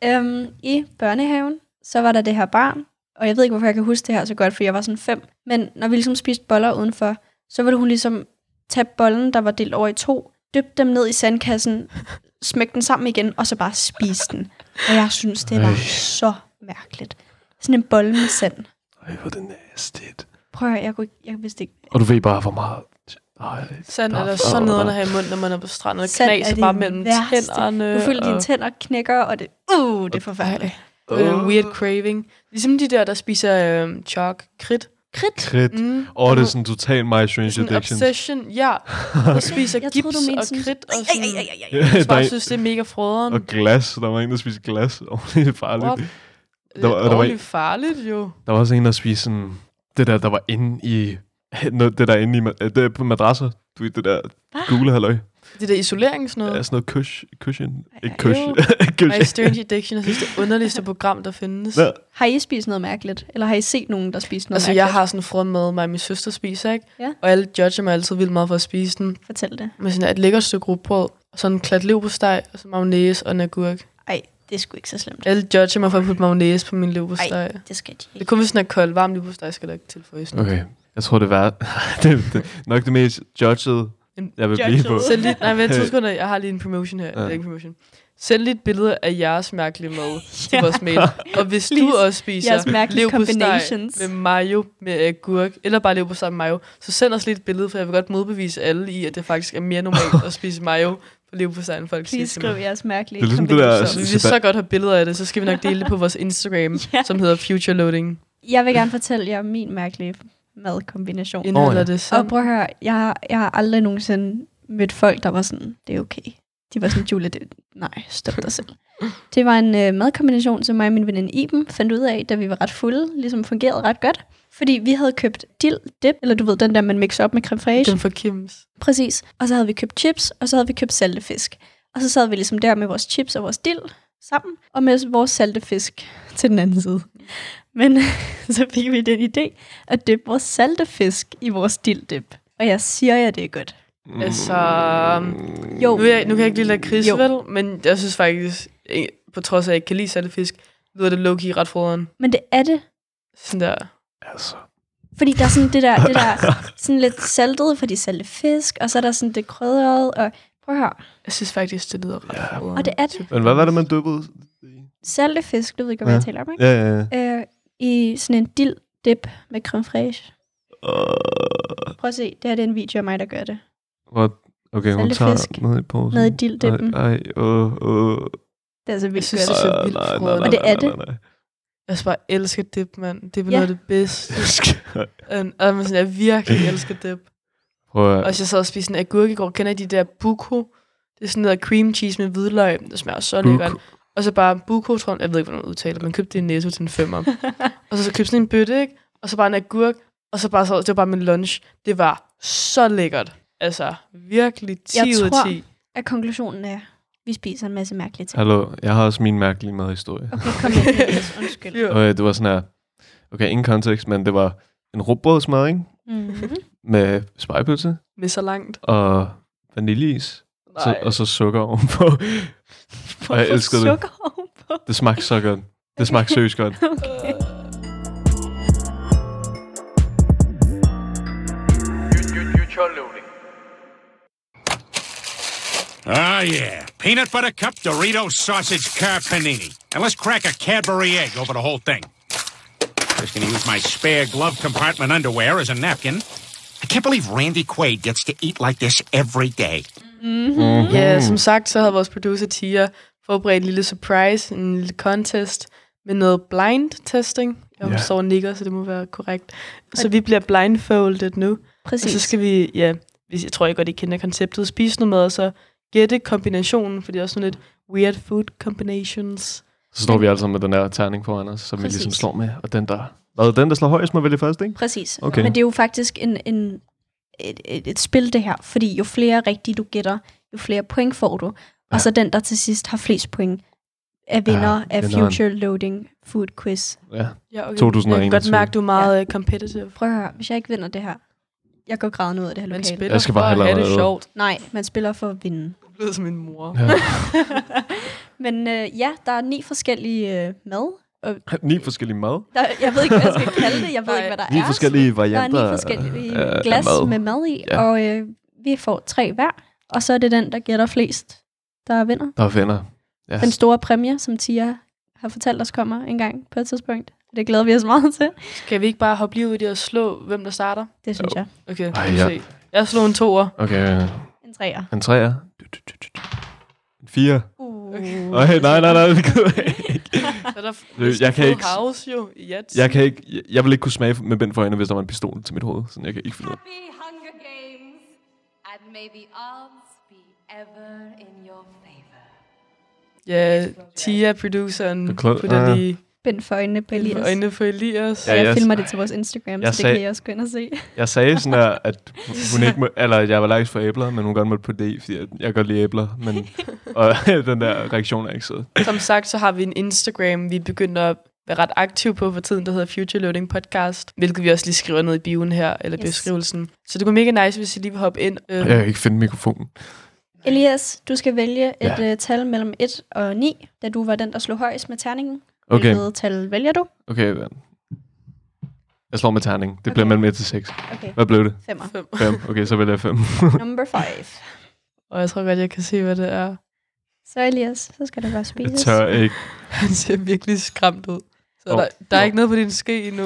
E: Øhm, I børnehaven, så var der det her barn, og jeg ved ikke, hvorfor jeg kan huske det her så godt, for jeg var sådan fem. Men når vi ligesom spiste boller udenfor, så ville hun ligesom tage bollen, der var delt over i to, dyppe dem ned i sandkassen, smække den sammen igen, og så bare spise den. Og jeg synes, det var
D: Ej.
E: så mærkeligt. Sådan en bolle med sand.
D: Ej, hvor er det næstigt.
E: Prøv at høre, jeg, kunne, ikke- jeg vidste ikke.
D: Og du ved bare, hvor meget... Ej,
C: Sand er
D: der
C: der
D: er-
C: sådan noget at have i munden, når man er på stranden, og
E: Sand er
C: knaser
E: det
C: bare mellem
E: værste.
C: tænderne.
E: Du føler,
C: og...
E: dine tænder knækker, og det, uh, det er forfærdeligt.
C: Øh, weird craving. Ligesom de der, der spiser øh, chalk, kridt.
E: Kridt.
D: Kridt.
C: Mm.
D: Åh, det er sådan total My Strange
C: sådan en
D: Addiction.
C: obsession, ja. Og spiser
E: Jeg
C: gips
E: troede, du mente
C: og
E: sådan-
C: kridt. Og
E: Ej, ej,
C: sådan,
E: ej, ej, ej.
D: Ja,
C: jeg
D: der,
C: bare
D: er-
C: synes, det er mega froderen.
D: og glas. Der var en, der spiste glas. Åh, det er farligt.
C: What?
D: Der var- der var
C: Det
D: en-
C: er farligt, jo.
D: Der var også en, der spiste sådan... Det der, der
C: Ah.
D: var inde i... Noget, det der inde i... ma- øh, Det er på madrasser. Du ved, det der gule halløj.
C: Det der isolering sådan noget.
D: Er sådan noget kush, cushion? Ikke
E: jo.
D: kush.
C: Nej,
D: kush.
C: Strange Addiction, jeg synes, det underligste program, der findes.
D: Nå.
E: Har I spist noget mærkeligt? Eller har I set nogen, der spiser noget
C: Altså,
E: mærkeligt?
C: jeg har sådan frød mad, mig og min søster spiser, ikke?
E: Ja.
C: Og alle judger mig altid vildt meget for at spise den.
E: Fortæl det.
C: Med sådan et lækkert stykke rugbrød, og sådan en klat leverpostej, og så mayonnaise og en agurk.
E: Ej, det er sgu ikke så slemt.
C: Alle judger mig for at putte mayonnaise på min leverpostej.
E: Det skal de
C: Det er
E: ikke.
C: kun, hvis den er kold. Varm leverpostej skal der ikke tilføjes. noget.
D: Okay. Jeg tror, det var det, det, nok det mest judged,
C: En
D: jeg vil blive på.
E: judged.
C: Send lidt, nej, men to sekunder, jeg har lige en promotion her. Ja. Det er ikke en promotion. Send lige et billede af jeres mærkelige mad til vores mail. Og hvis du
E: Please.
C: også spiser
E: Jeres mærkelige combinations.
C: med mayo, med agurk, eller bare leverpostej med mayo, så send os lige et billede, for jeg vil godt modbevise alle i, at det faktisk er mere normalt at spise mayo på leverpostej, end folk
E: Please
C: siger til mig.
E: skriv jeres mærkelige
D: Det er ligesom det der-
C: Altså, Så
E: kombinationer.
C: hvis vi så godt har billeder af det, så skal vi nok dele det på vores Instagram,
E: Ja.
C: som hedder Future Loading.
E: Jeg vil gerne fortælle jer min mærkelige madkombination.
C: Indeholder
D: ja.
C: det
E: Og
C: sandt?
E: prøv at høre, jeg, har- jeg har aldrig nogensinde mødt folk, der var sådan, det er okay. De var sådan, Julie, det, nej, stop dig selv. Det var en øh, madkombination, som mig og min veninde Iben fandt ud af, da vi var ret fulde, ligesom fungerede ret godt. Fordi vi havde købt dill dip, eller du ved, den der, man mixer op med creme fraiche.
C: Den for Kims.
E: Præcis. Og så havde vi købt chips, og så havde vi købt saltefisk. Og så sad vi ligesom der med vores chips og vores dill sammen, og med vores saltefisk til den anden side. Men så fik vi den idé at dyppe vores saltefisk i vores dilldip. Og jeg siger jer, det er godt.
C: Altså,
E: Jo,
C: Mm. Nu, er jeg, nu kan jeg ikke lide lakrids,
E: Jo.
C: vel? Men jeg synes faktisk, eh, på trods af, at jeg ikke kan lide saltefisk, lyder det low-key ret froderen.
E: men det er det.
C: Sådan der.
D: Altså,
E: Fordi der er sådan det der, det der sådan lidt saltet, fordi saltefisk, og så er der sådan det krydderede, og prøv at høre,
C: Jeg synes faktisk, det lyder ret
D: Ja.
C: froderen.
E: Og det er det.
D: men hvad var det, man dyppede?
E: saltefisk, du ved ikke, hvad
D: Ja.
E: jeg taler om, ikke?
D: Ja, ja, ja.
E: Øh, I sådan en dilldip med creme fraiche.
D: Uh,
E: Prøv at se, det her det er en video af mig, der gør det.
D: hvor- okay, hun
E: Saltefisk.
D: tager noget i posen.
E: Noget i dilddippen.
D: Ej, ej, åh, åh.
E: Det er altså
C: Jeg
E: vildt
C: synes, det
E: godt.
C: er så
D: Ej,
C: vildt
D: nej, nej,
C: froderen.
D: nej,
E: Og det er
D: nej,
E: det.
D: nej, nej.
C: Jeg bare elsker dip, mand. Det
E: Ja.
C: er noget af det bedste. And, og man sådan, jeg virkelig elsker dip.
D: Prøv at,
C: Og så sad og spiste en agurk i går. Kender I de der buko? Det er sådan noget cream cheese med hvidløg. Det smager så lækkert. Og så bare buko, tror jeg, jeg ved ikke, hvordan man udtaler, det, men købte det i Netto til en femmer. og så, så købte sådan en bøtte, ikke? Og så bare en agurk, og så bare så, det var bare min lunch. Det var så lækkert. Altså, virkelig 10
E: Jeg
C: ud af
E: tror-
C: 10.
E: At konklusionen er, vi spiser en masse mærkelige ting.
D: Hallo, jeg har også min mærkelige madhistorie.
E: Okay, kom med Elias, undskyld.
C: Jo.
D: Okay, det var sådan her, okay, ingen kontekst, men det var en rugbrødsmad, ikke?
E: Mm-hmm.
D: Med spejpølse
C: Med så langt.
D: og vaniljeis, så,
C: Nej.
D: og så sukker ovenpå. Og jeg elskede det.
E: sukker ovenpå.
D: Det smagte så godt. Det smagte seriøst godt.
E: Okay.
F: Oh, yeah. Peanut butter cup, Doritos, sausage, car panini. And let's crack a Cadbury egg over the whole thing. Just gonna use my spare glove compartment underwear as a napkin. I can't believe Randy Quaid gets to eat like this every day.
C: Ja, som sagt, så havde vores producer Tia forberedt en lille surprise, en lille contest med noget blind testing. Jeg
D: Ja.
C: yeah. står og nikker, så det må være korrekt. Så vi bliver blindfolded nu. Og
D: altså,
E: Præcis.
C: så skal vi, ja, hvis jeg tror jeg godt, I kender konceptet, spise noget mad, og så gætte kombinationen, for det er også sådan lidt weird food combinations.
D: Så står vi alle sammen med den der terning foran os, som vi
E: Præcis.
D: ligesom slår med. Og den der, hvad, den der slår højst, må vælge først, ikke?
E: Præcis.
D: Okay.
E: Men det er jo faktisk en, en, et, et, et spil, det her. Fordi jo flere rigtige du gætter, jo flere point får du. Og så den, der til sidst har flest point, er vinder
D: Ja,
E: af
D: vinderen.
E: Future Loading Food Quiz.
D: Ja.
C: Ja, okay.
D: 2021.
C: Jeg kan godt mærke, du er meget ja. competitive.
E: Prøv at høre, hvis jeg ikke vinder det her, jeg går grædende ud af det her
C: Man
E: lokale.
C: spiller
D: Jeg skal bare
C: for
D: hellere
C: at have det
D: være ude.
C: sjovt.
E: Nej, man spiller for at vinde.
C: Du lyder som min mor.
D: ja.
E: Men øh, ja, der er ni forskellige øh, mad.
D: Ni forskellige mad.
E: Der, jeg ved ikke, hvad jeg skal kalde det. Jeg ved
C: Nej.
E: ikke, hvad der
D: Ni
E: er.
D: forskellige
E: der er
D: varianter.
E: ni forskellige
D: af- af
E: glas
D: mad.
E: med mad i,
D: Ja.
E: og øh, vi får tre hver. Og så er det den, der gætter flest, der vinder.
D: Der er venner. Ja.
E: Den store præmie, som Tia har fortalt os, kommer en gang på et tidspunkt. Det glæder vi os meget til.
C: Skal vi ikke bare hoppe lige ud i det og slå, hvem der starter?
E: Det synes jeg.
C: Okay,
D: Ej,
C: Ej, ja.
D: ja.
C: se. Jeg slog en toer.
D: Okay, øh,
E: En træer.
D: en træer. Du, du, du, du, du. En fire.
E: Uh.
D: Nej, nej, nej, nej, det gider jeg ikke.
C: Så er der
D: Det- jeg kan ikke-
C: House jo i Jets.
D: Jeg, kan ikke, jeg- jeg vil ikke kunne smage med bind for øjnene, hvis der var en pistol til mit hoved. Sådan, jeg kan ikke finde ud af.
G: Happy Hunger Games, and may the odds be ever in your favor.
C: Ja, Tia, produceren,
D: Beklad-
C: putter
D: Ja.
C: lige
E: Bind for øjnene på
C: Elias.
E: Elias.
C: øjnene for Elias.
E: Ja,
D: Ah. Ja,
E: jeg
D: jeg-
E: filmer det til vores Instagram,
D: Jeg
E: så det
D: sagde-
E: kan I også gå ind og se.
D: Jeg sagde sådan her, at hun ikke må, eller jeg var lagt for æbler, men hun godt måtte på D, fordi jeg, jeg kan godt lide æbler, men og, den der reaktion er ikke sød.
C: Som sagt, så har vi en Instagram, vi begynder at være ret aktive på for tiden, der hedder Future Loading Podcast, hvilket vi også lige skriver ned i bioen her, eller
E: Yes.
C: yes. beskrivelsen. Så det kunne mega nice, hvis I lige vil hoppe ind. Øh,
D: Jeg kan ikke finde mikrofonen.
E: Elias, du skal vælge et
D: Ja.
E: ja. uh, tal mellem 1 og 9, da du var den, der slog højst med terningen.
D: Okay,
E: Hvilket tal vælger du?
D: okay. vent. Jeg slår med terning. Det okay. bliver
E: Okay.
D: mellem 1 til 6.
E: Okay,
D: Hvad blev det?
E: femmer.
C: fem.
D: 5. Okay, så vælger jeg 5.
E: Number 5.
C: Og jeg tror godt, jeg kan se, hvad det er.
E: Så Elias, så skal du bare
D: Jeg
E: spises.
D: tør ikke.
C: Han ser virkelig skræmt ud. Så
D: Nå.
C: der, der er ikke noget på din ske endnu.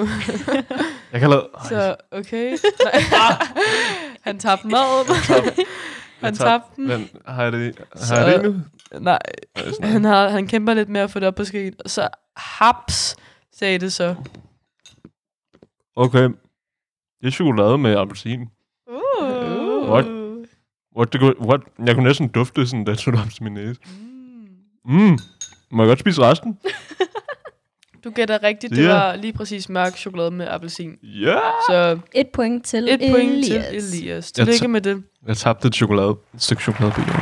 D: Jeg kan allerede... Ej,
C: Så okay. Nej.
D: Ah.
C: Han tabte maden.
D: jeg
C: han
D: tager-
C: tabte den.
D: Men har jeg det, har
C: Så-
D: jeg det nu?
C: Nej,
D: Ej, sådan
C: han, har, han kæmper lidt med at få det op på skeen. Og så haps, sagde det så.
D: Okay. Det er chokolade med appelsin.
C: Uh.
D: What? What, det kunne, what? Jeg kunne næsten dufte sådan, da jeg tog det op til min næse. Mm. Må jeg godt spise resten?
C: Du gætter rigtigt. Det
D: Ja.
C: var lige præcis mørk chokolade med appelsin.
D: Ja! Yeah!
C: Så
E: Et point til
C: et
E: Ah, Elias.
C: point til Elias.
D: Jeg
C: Tillykke
D: tager-
C: med det.
D: Jeg tabte et, chokolade, et stykke chokolade på jorden.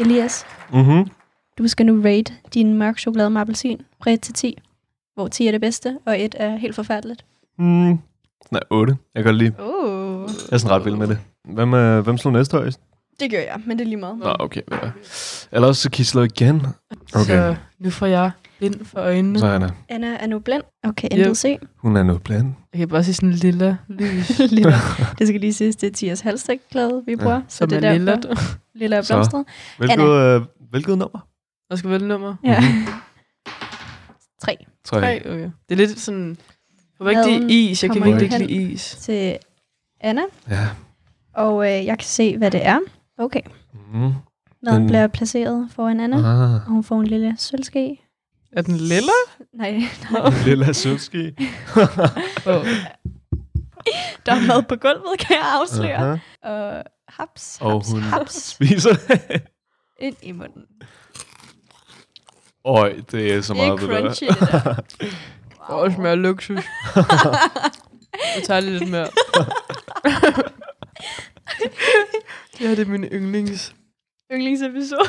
E: Elias,
D: Mm-hmm.
E: du skal nu rate din mørk chokolade med appelsin. Rate til 10, hvor 10 er det bedste, og 1 er helt forfærdeligt.
D: Mm. Nej, 8. Jeg kan godt lide.
E: Uh.
D: Jeg er sådan ret vild med det. Hvem, øh, hvem slog næste højst?
E: Det gør jeg, men det er lige meget.
D: Nå, okay. Ja. Ellers så kisler igen.
C: Så nu får jeg vind for øjnene.
D: Så Anna,
E: Anna er nu blind og kan
C: Yep.
E: intet se.
D: hun er nu blandt.
C: Jeg kan bare se sådan en lilla lys,
E: Lilla. Det skal lige siges, det er Tias halsdækglæde, vi bruger. Ja, så
C: som
E: det
C: er
E: er derfor,
C: lilla.
E: lilla. lilla er
D: Så.
E: blomstret.
D: Hvilket, øh, hvilket nummer?
C: Og skal vælge nummer.
D: Mhm.
E: Ja. Tre
D: Tre.
C: Tre, okay. Det er lidt sådan... Jeg var ikke
E: Maden
C: det er is. Jeg kan
E: kommer
C: virkelig
E: ikke
C: ikke lide is.
E: til Anna,
D: Ja.
E: og øh, jeg kan se, hvad det er. Okay.
D: Mm.
E: Maden
D: Den-
E: bliver placeret foran Anna,
D: Ah.
E: og hun får en lille sølvske.
C: Er den lilla?
E: Nej,
D: Lilla Sølski.
C: Oh.
E: der er mad på gulvet, kan jeg afsløre.
D: Aha.
E: Og haps, haps,
D: Og hun-
E: haps,
D: Spiser det.
E: ind i munden.
D: Øj, det er så
E: Det er
D: meget det der.
E: crunchy, det der.
C: Åh, det smager af luksus. Jeg tager lige lidt mere. det her det er min yndlings.
E: Yndlingsepisode.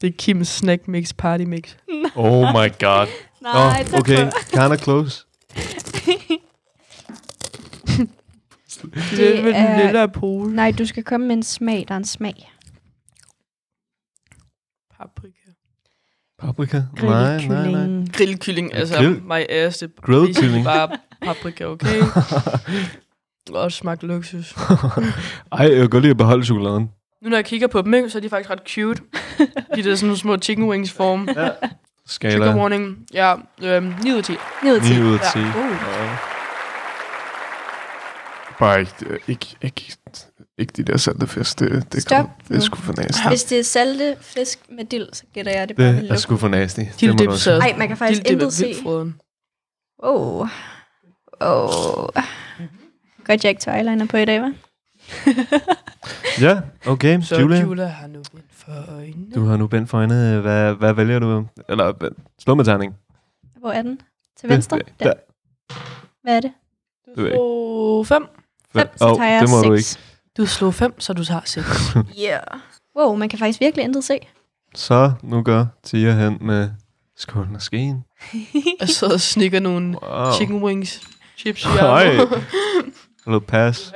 C: Det er Kims snack mix, party mix.
D: Oh my god.
E: Nej,
D: Nå,
E: tak
D: okay.
E: for.
D: Kinda close.
C: Det, det er med
E: er-
C: den lille pose.
E: Nej, du skal komme med en smag, der er en smag.
C: Paprika.
D: Paprika? Nej, nej, nej.
E: Grillkylling.
C: Grillkylling, altså
D: Grill-
C: my ass, det er
D: Grillkylling.
C: basically bare paprika, okay? Og smagt luksus.
D: Ej, jeg kan godt lide at beholde chokoladen.
C: Nu når jeg kigger på dem, ikke, så er de faktisk ret cute. De der sådan nogle små chicken wings form.
D: Skala
C: Trigger warning. Ja, øhm, 9 ud af 10.
E: 9 ud af 10.
D: 9 ud af
C: Ja.
D: 10.
C: Uh.
D: Ja. Bare ikke, øh, ikke, ikke, ikke de der salte fisk. Det, det,
E: Stop
D: kunne- det
E: nu.
D: er sgu for nasty.
E: Hvis det er salte fisk med dild, så gætter jeg, at det bare vil
D: Det er
E: lukke.
D: sgu for nasty.
C: Dill
D: må
C: dip
D: du også-
C: sauce.
E: Ej, man kan faktisk
C: Dill dip er
E: intet se.
C: vildt frøden.
E: Åh. Oh. Åh. Oh. Godt, jeg ikke tog eyeliner på i dag, hva'?
D: Ja, okay.
C: Så
D: Julia,
C: Jula har nu vind for øjnene.
D: du har nu bændt for øjnene. Hvad, hvad vælger du? Eller hvad- slå med terning.
E: Hvor er den? Til venstre?
D: Det-
E: Der.
D: der.
E: Hvad er det?
D: ved jeg
C: Du slog 5.
E: Fem, så
D: Åh,
E: tager jeg
D: det må
E: seks.
D: du ikke.
C: Du slog 5, så du tager 6.
E: Yeah. Wow, man kan faktisk virkelig intet se.
D: Så nu gør Tia hen med skålen og skeen.
C: Jeg sidder og snikker nogle
D: Wow.
C: chicken wings chips i
D: Ej. Eller pas.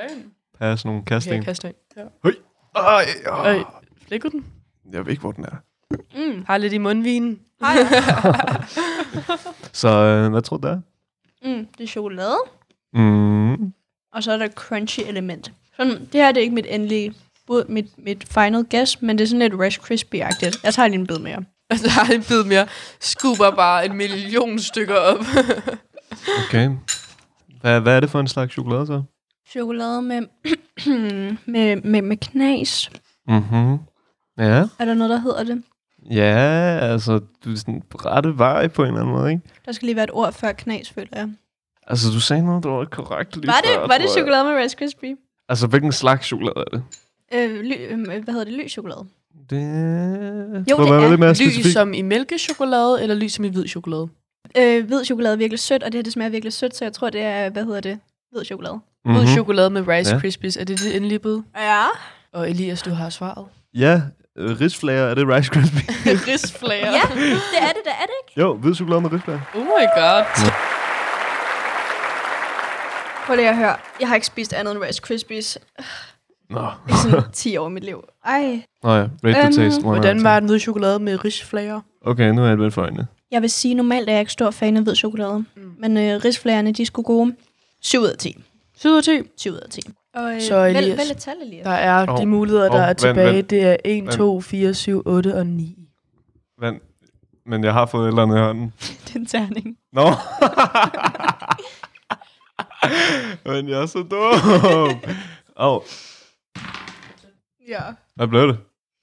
D: Pas nogle
C: Okay,
D: casting.
C: kaster ja.
D: Ej,
C: Øj,
D: åh.
C: flækker den?
D: Jeg ved ikke, hvor den er.
E: Mm.
C: Har lidt i mundvinen.
D: Så øh, hvad tror du, det er?
E: Mm, det er chokolade,
D: Mm.
E: og så er der crunchy element. Sådan, det her det er ikke mit endelige bud, mit, mit final guess, men det er sådan lidt Rice Krispie-agtigt. Jeg tager lige en bid mere.
C: Altså, der er en bid mere. Skuber bare en million stykker op.
D: Okay. Hvad, hvad er det for en slags chokolade så?
E: Chokolade med, med, med, med knas.
D: Mhm. Ja.
E: Er der noget, der hedder det?
D: Ja, altså, du er sådan på rette vej på en eller anden måde, ikke?
E: Der skal lige være et ord før knas, føler jeg.
D: Altså, du sagde noget, der var korrekt lige
E: Var det,
D: før,
E: var det
D: tror jeg.
E: chokolade med Rice Krispie?
D: Altså, hvilken slags chokolade er det?
E: Øh, ly, øh, hvad hedder det? Lys chokolade.
D: Det,
E: Jo,
D: tror,
E: det
D: man
E: er
D: lidt mere specifik.
C: Lys som i mælkechokolade, eller lys som i hvid chokolade?
E: Øh, hvid chokolade er virkelig sødt, og det her det smager virkelig sødt, så jeg tror, det er, hvad hedder det? Hvid chokolade.
C: Mm-hmm. Hvid
D: Mhm.
C: chokolade med Rice
D: Ja.
C: ja. Krispies. Er det det endelige bud?
E: Ja.
C: Og Elias, du har svaret.
D: Ja, øh, risflager, er det Rice Krispies?
C: Rigsflager.
E: Ja, det er det, det er det ikke.
D: jo, hvid chokolade med risflager.
C: Oh my god.
E: Prøv lige at høre. Jeg har ikke spist andet end Rice Krispies
D: Nå,
E: i sådan 10 år i mit liv. Ej.
D: Nå ja, rate the
E: Øhm,
D: taste. one out of
C: Hvordan
D: ten.
C: var den hvide chokolade med rigsflager?
D: Okay, nu er jeg vendt for øjnene.
E: Jeg vil sige, normalt er jeg ikke stor fan af hvid chokolade. Mm. Men øh, risflagerne, de skulle gode. 7 ud af 10.
C: 7 ud af 10.
E: 7 ud af 10. Og, øh,
C: Så Elias.
E: Vælg, vælg et tal, Elias.
C: Der er
D: Hov,
C: de muligheder,
D: hov,
C: der er
D: vent,
C: tilbage.
D: vent.
C: Det er 1,
D: Vent.
C: 2, 4, 7, 8 og 9.
D: Men, men jeg har fået et eller andet i hånden.
E: Det er en terning.
D: Nå. men jeg er så dum. Åh, oh,
E: Ja.
D: hvad blev det?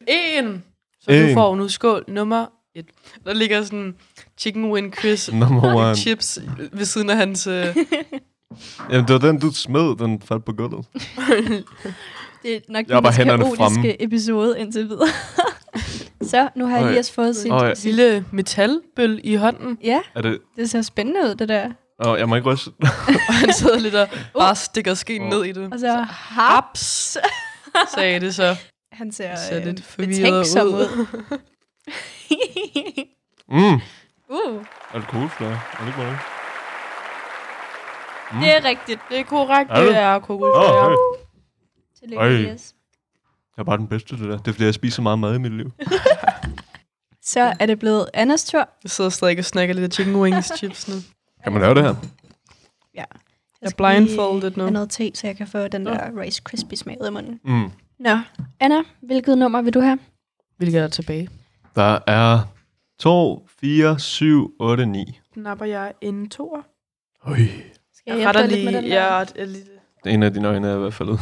C: 1! Så
D: En.
C: du får nu skål nummer 1. Der ligger sådan chicken wing crisp
D: Number one.
C: chips ved siden af hans... Øh,
D: Jamen, det var den, du smed, den faldt på gulvet.
E: Det er nok
D: Jeg har
E: den
D: bare
E: mest
D: hænderne
E: kaotiske
D: fremme.
E: episode indtil videre. så, nu har
D: Øj.
E: Elias fået sin...
D: Øj.
E: sin-
C: lille metalbøl i hånden.
E: Ja,
D: Er det...
E: det ser spændende ud, det der.
D: Åh, oh, jeg må ikke ryste.
C: Og han sidder lidt og bare stikker skeen ned i det.
E: Og så haps.
C: Sagde det så.
E: Han ser,
C: Ser
E: øh,
C: lidt forvirret
E: betænksom
C: ud.
E: ud.
D: Mm.
E: uh,
D: Er det coolflare? Er det ikke bare det?
E: det er rigtigt.
C: Det er korrekt,
D: Er det?
C: det er
D: Åh,
C: kokosflager.
D: hey.
E: Tillykke,
D: Øj.
E: Elias.
D: Jeg er bare den bedste til det der. Det er, fordi jeg spiser så meget mad i mit liv.
E: Så er det blevet Annas tur.
C: Jeg sidder stadig og snakker lidt af chicken wings chips nu.
D: Kan man lave det her?
E: Ja.
C: Jeg er blindfolded nu.
E: Jeg noget te, så jeg kan få den der Rice Krispie smag ud af munden.
D: Mm.
E: Nå, Anna, hvilket nummer vil du have?
C: Hvilket er der tilbage?
D: Der er 2, 4, 7, 8, 9.
C: Napper jeg en toer?
D: Øj.
E: Skal
C: Jeg, retter
E: dig
C: lige.
E: den
C: jeg,
E: der?
C: ret- jeg, lige-
D: En af dine øjne er i hvert fald ud.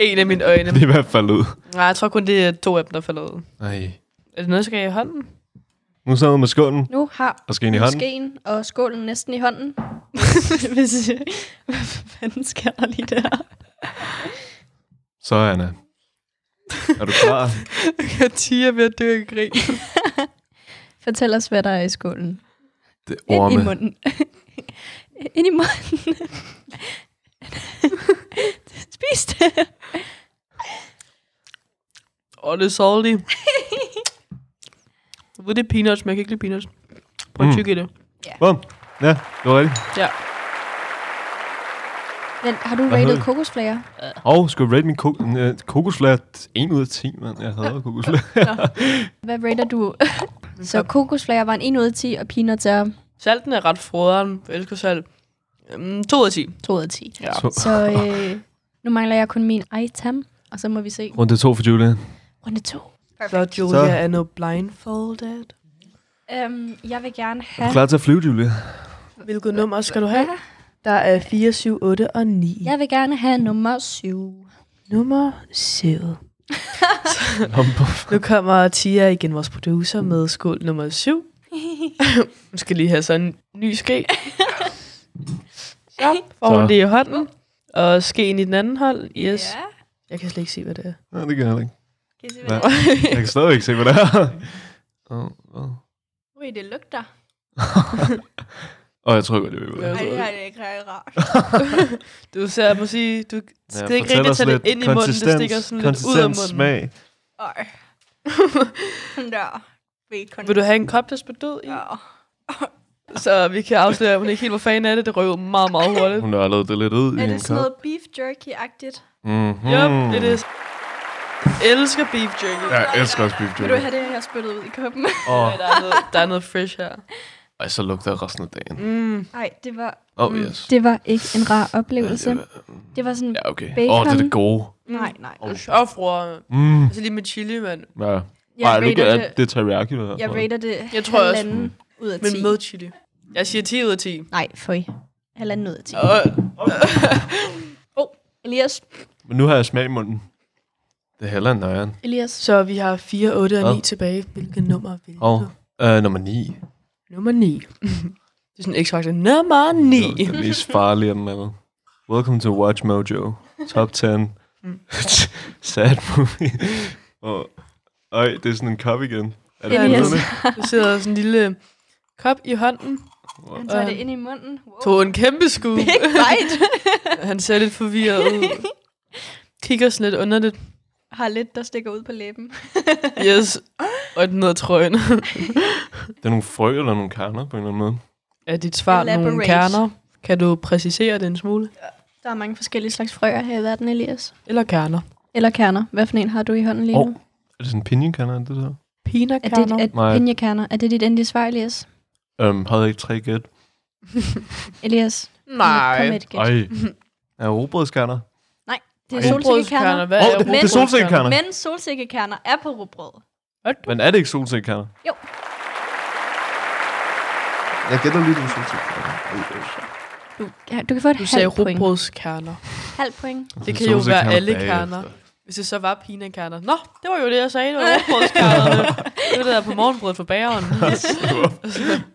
C: en af mine øjne.
D: Det er i hvert fald ud.
C: Nej, jeg tror kun, det er to af dem, der falder ud.
D: Nej.
C: Er det noget, jeg skal have i hånden?
D: Nu sidder man med skålen
E: Nu har
D: og skeen i hånden.
E: skeen og skålen næsten i hånden. Hvis, hvad fanden sker der lige der?
D: Så, Anna. Er du klar?
C: Jeg tiger ved at dø i grin.
E: Fortæl os, hvad der er i skålen.
D: Det er
E: Ind i
D: orme.
E: munden. Ind i munden. Spis det.
C: Åh, det er salty. Jeg ved, det er peanuts, men jeg kan ikke lide peanuts. Prøv at
D: Mm.
C: tykke i det.
D: Bum. Ja, det var rigtigt.
C: Ja.
E: Men har du
D: Hvad hedder
E: rated
D: det?
E: kokosflager?
D: Og skal jeg rate min ko- øh, kokosflare 1 ud af 10, mand. Jeg hader kokosflare.
E: Hvad rater du? så kokosflager var en 1 ud af 10, og peanuts er
C: Salten er ret froderen. Jeg elsker salt. Um, 2 ud af 10.
E: 2 ud af 10.
C: Ja.
D: Så,
E: Så øh, nu mangler jeg kun min item, og så må vi se.
D: runde 2 for Julia.
E: Runde 2.
C: Så Julia
D: Så-
C: er no blindfolded.
E: Øhm, jeg vil gerne
D: Er du
E: have...
D: klar til at flyve, Julia?
C: Hvilket nummer skal du have? Der er 4, 7, 8 og 9.
E: Jeg vil gerne have nummer 7.
C: Nummer 7.
D: Nå, buff.
C: Nu kommer Tia igen, vores producer, med skål nummer 7. Hun skal lige have sådan en ny ske. Så får hun
D: Så.
C: det i hånden, og skeen i den anden hånd. Yes. Jeg kan slet ikke se, hvad det er.
D: Nej, det kan jeg ikke.
E: Kan I se,
D: hvad Nej. Jeg kan stadig ikke se, hvad det er. Åh, åh.
E: Ui, det lugter.
D: Åh, jeg tror godt, jeg ved, hvad det er.
C: Ej, det er
E: det ikke rart.
C: Du ser, jeg må sige, du skal ja, ikke
D: fortæl
C: rigtig
D: os
C: tage det
D: lidt.
C: ind i munden. Det
D: Konsistens-
C: stikker sådan lidt ud af munden.
D: Konsistens, smag.
E: Ej. Sådan der. Bacon.
C: Vil du have en kop, der spytter død i? Så vi kan afsløre, at hun ikke helt var fan af det. Det røvede meget, meget hurtigt.
D: Hun har lavet det lidt ud i
E: Er
D: en
E: det sådan
D: kop.
E: noget beef jerky-agtigt?
D: Mm-hmm.
C: Yup, det er det. Elsker beef jerky.
D: Jeg elsker også beef
E: Vil du
D: jerky.
E: have det her spyttet ud i koppen?
D: Åh,
C: Ej, Der er, noget, der er noget fresh her.
D: ej, så lugter resten af dagen.
C: Mm.
E: Nej, det var,
D: Åh, oh, yes.
E: det var ikke en rar oplevelse. Det var sådan...
D: Ja, okay. Åh,
E: Bacon.
D: oh, det er det gode.
E: Nej, nej.
C: Og sjovfruer.
D: Oh. Mm.
C: Altså lige med chili, mand.
D: Ja.
E: Jeg
D: Ej, nu
E: rater
D: er
E: det,
D: det teriyaki, det her.
E: jeg rater det
C: Jeg tror også-
E: halvanden ud af 10.
C: Men med chili. Jeg siger 10 ud af 10.
E: Nej, føj. Halvanden ud af 10.
C: Og
E: Elias.
D: Men nu har jeg smag i munden. Det er heller en nøjeren.
E: Elias.
C: så vi har 4, 8 og 9
D: Hvad?
C: tilbage. Hvilket nummer vil
D: Og
C: du?
D: øh, nummer 9.
C: Nummer 9. det er sådan en x-faktor. Nummer 9.
D: Det er mest farlige af dem alle. Welcome to Watch Mojo. Top 10. Sad movie. og Øj, det er sådan en kop igen. Er det
C: Ja,
D: blevet
C: yes.
D: det?
C: Der sidder sådan en lille kop i hånden.
E: Han
C: Øh.
E: tager det ind i munden. Wow.
C: Tog en kæmpe skue.
E: Big bite.
C: Han ser lidt forvirret ud. Kigger sådan lidt underligt.
E: Har lidt, der stikker ud på læben.
C: Yes. Og den hedder trøjen.
D: Det er nogle frø eller nogle kerner på en eller anden måde.
C: Er dit svar nogle
E: Elaborate.
C: kerner? Kan du præcisere det en smule?
E: Der er mange forskellige slags frøer her i verden, Elias.
C: Eller kerner?
E: Eller kerner. Hvad for en har du i hånden lige nu?
D: Åh, Er det sådan en pinjekerner, det der?
E: er det
C: Pinakerner?
E: et
D: Nej.
E: pinjekerner? Er det dit endelige svar, Elias?
D: Øhm, havde jeg ikke tre gæt?
E: Elias? Kom med
C: Nej.
E: et gæt.
D: Ej. Er robrødskerner?
E: Det er
D: Ej.
E: solsikkekerner.
C: Hvad
D: Åh,
C: er
D: det- det er
C: rugbrødskerner?
D: solsikkekerner. Solsikkekerner.
E: Men solsikkekerner er på rugbrød.
D: Men er det ikke solsikkerner?
E: Jo.
D: Jeg gætter lige, det var solsikkerner.
E: Du, ja, du kan få et
C: Du sagde
E: halvt point.
C: rugbrødskerner.
E: Halvt point.
C: Det kan jo være alle kerner. Hvis det så var pinakerner. Nå, det var jo det, jeg sagde. Det var rugbrødskernerne. det var det der på morgenbrødet for bageren.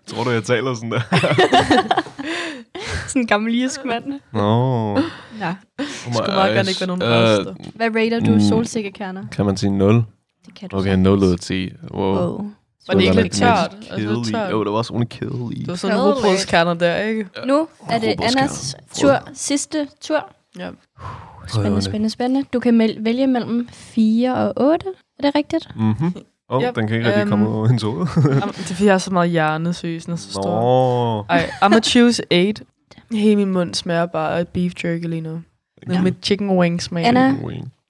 D: Tror du, jeg taler sådan der?
E: Sådan en gammel irsk mand.
D: Nå.
E: Ja.
D: Oh my
C: skulle meget gerne
D: eyes.
C: ikke være nogen
D: Øh,
C: præster.
E: Hvad rater du
D: Mm.
E: mm. solsikkekerner?
D: Kan man sige 0?
E: Det kan du
D: Okay,
E: sagtens.
D: 0 ud af 10. Wow.
E: Wow.
C: Var det ikke
D: var
C: lidt
D: da den
C: tørt?
D: mest
C: Altså lidt
D: kedelige-
C: tørt.
D: Jo, det var også under kedelig.
C: Det var sådan
E: Kedeligt.
C: nogle rugbrødskerner der, ikke?
E: Nu er det
D: Rugbrødskerner.
E: Annas tur. Sidste tur.
C: Ja.
E: Spændende, spændende, spændende. Du kan mel- vælge mellem 4 og 8. Er det rigtigt?
D: Mhm. Åh,
C: Yep,
D: den kan ikke rigtig
C: øhm,
D: komme ud over hendes hoved.
C: Jamen, det er fordi, jeg har så meget hjernesyge, når så
D: Nå.
C: står. Ej, I'ma choose 8. Hele min mund smager bare af beef jerky lige nu. Med
D: Ja.
C: mit chicken wings smag.
E: Anna.
C: Anna.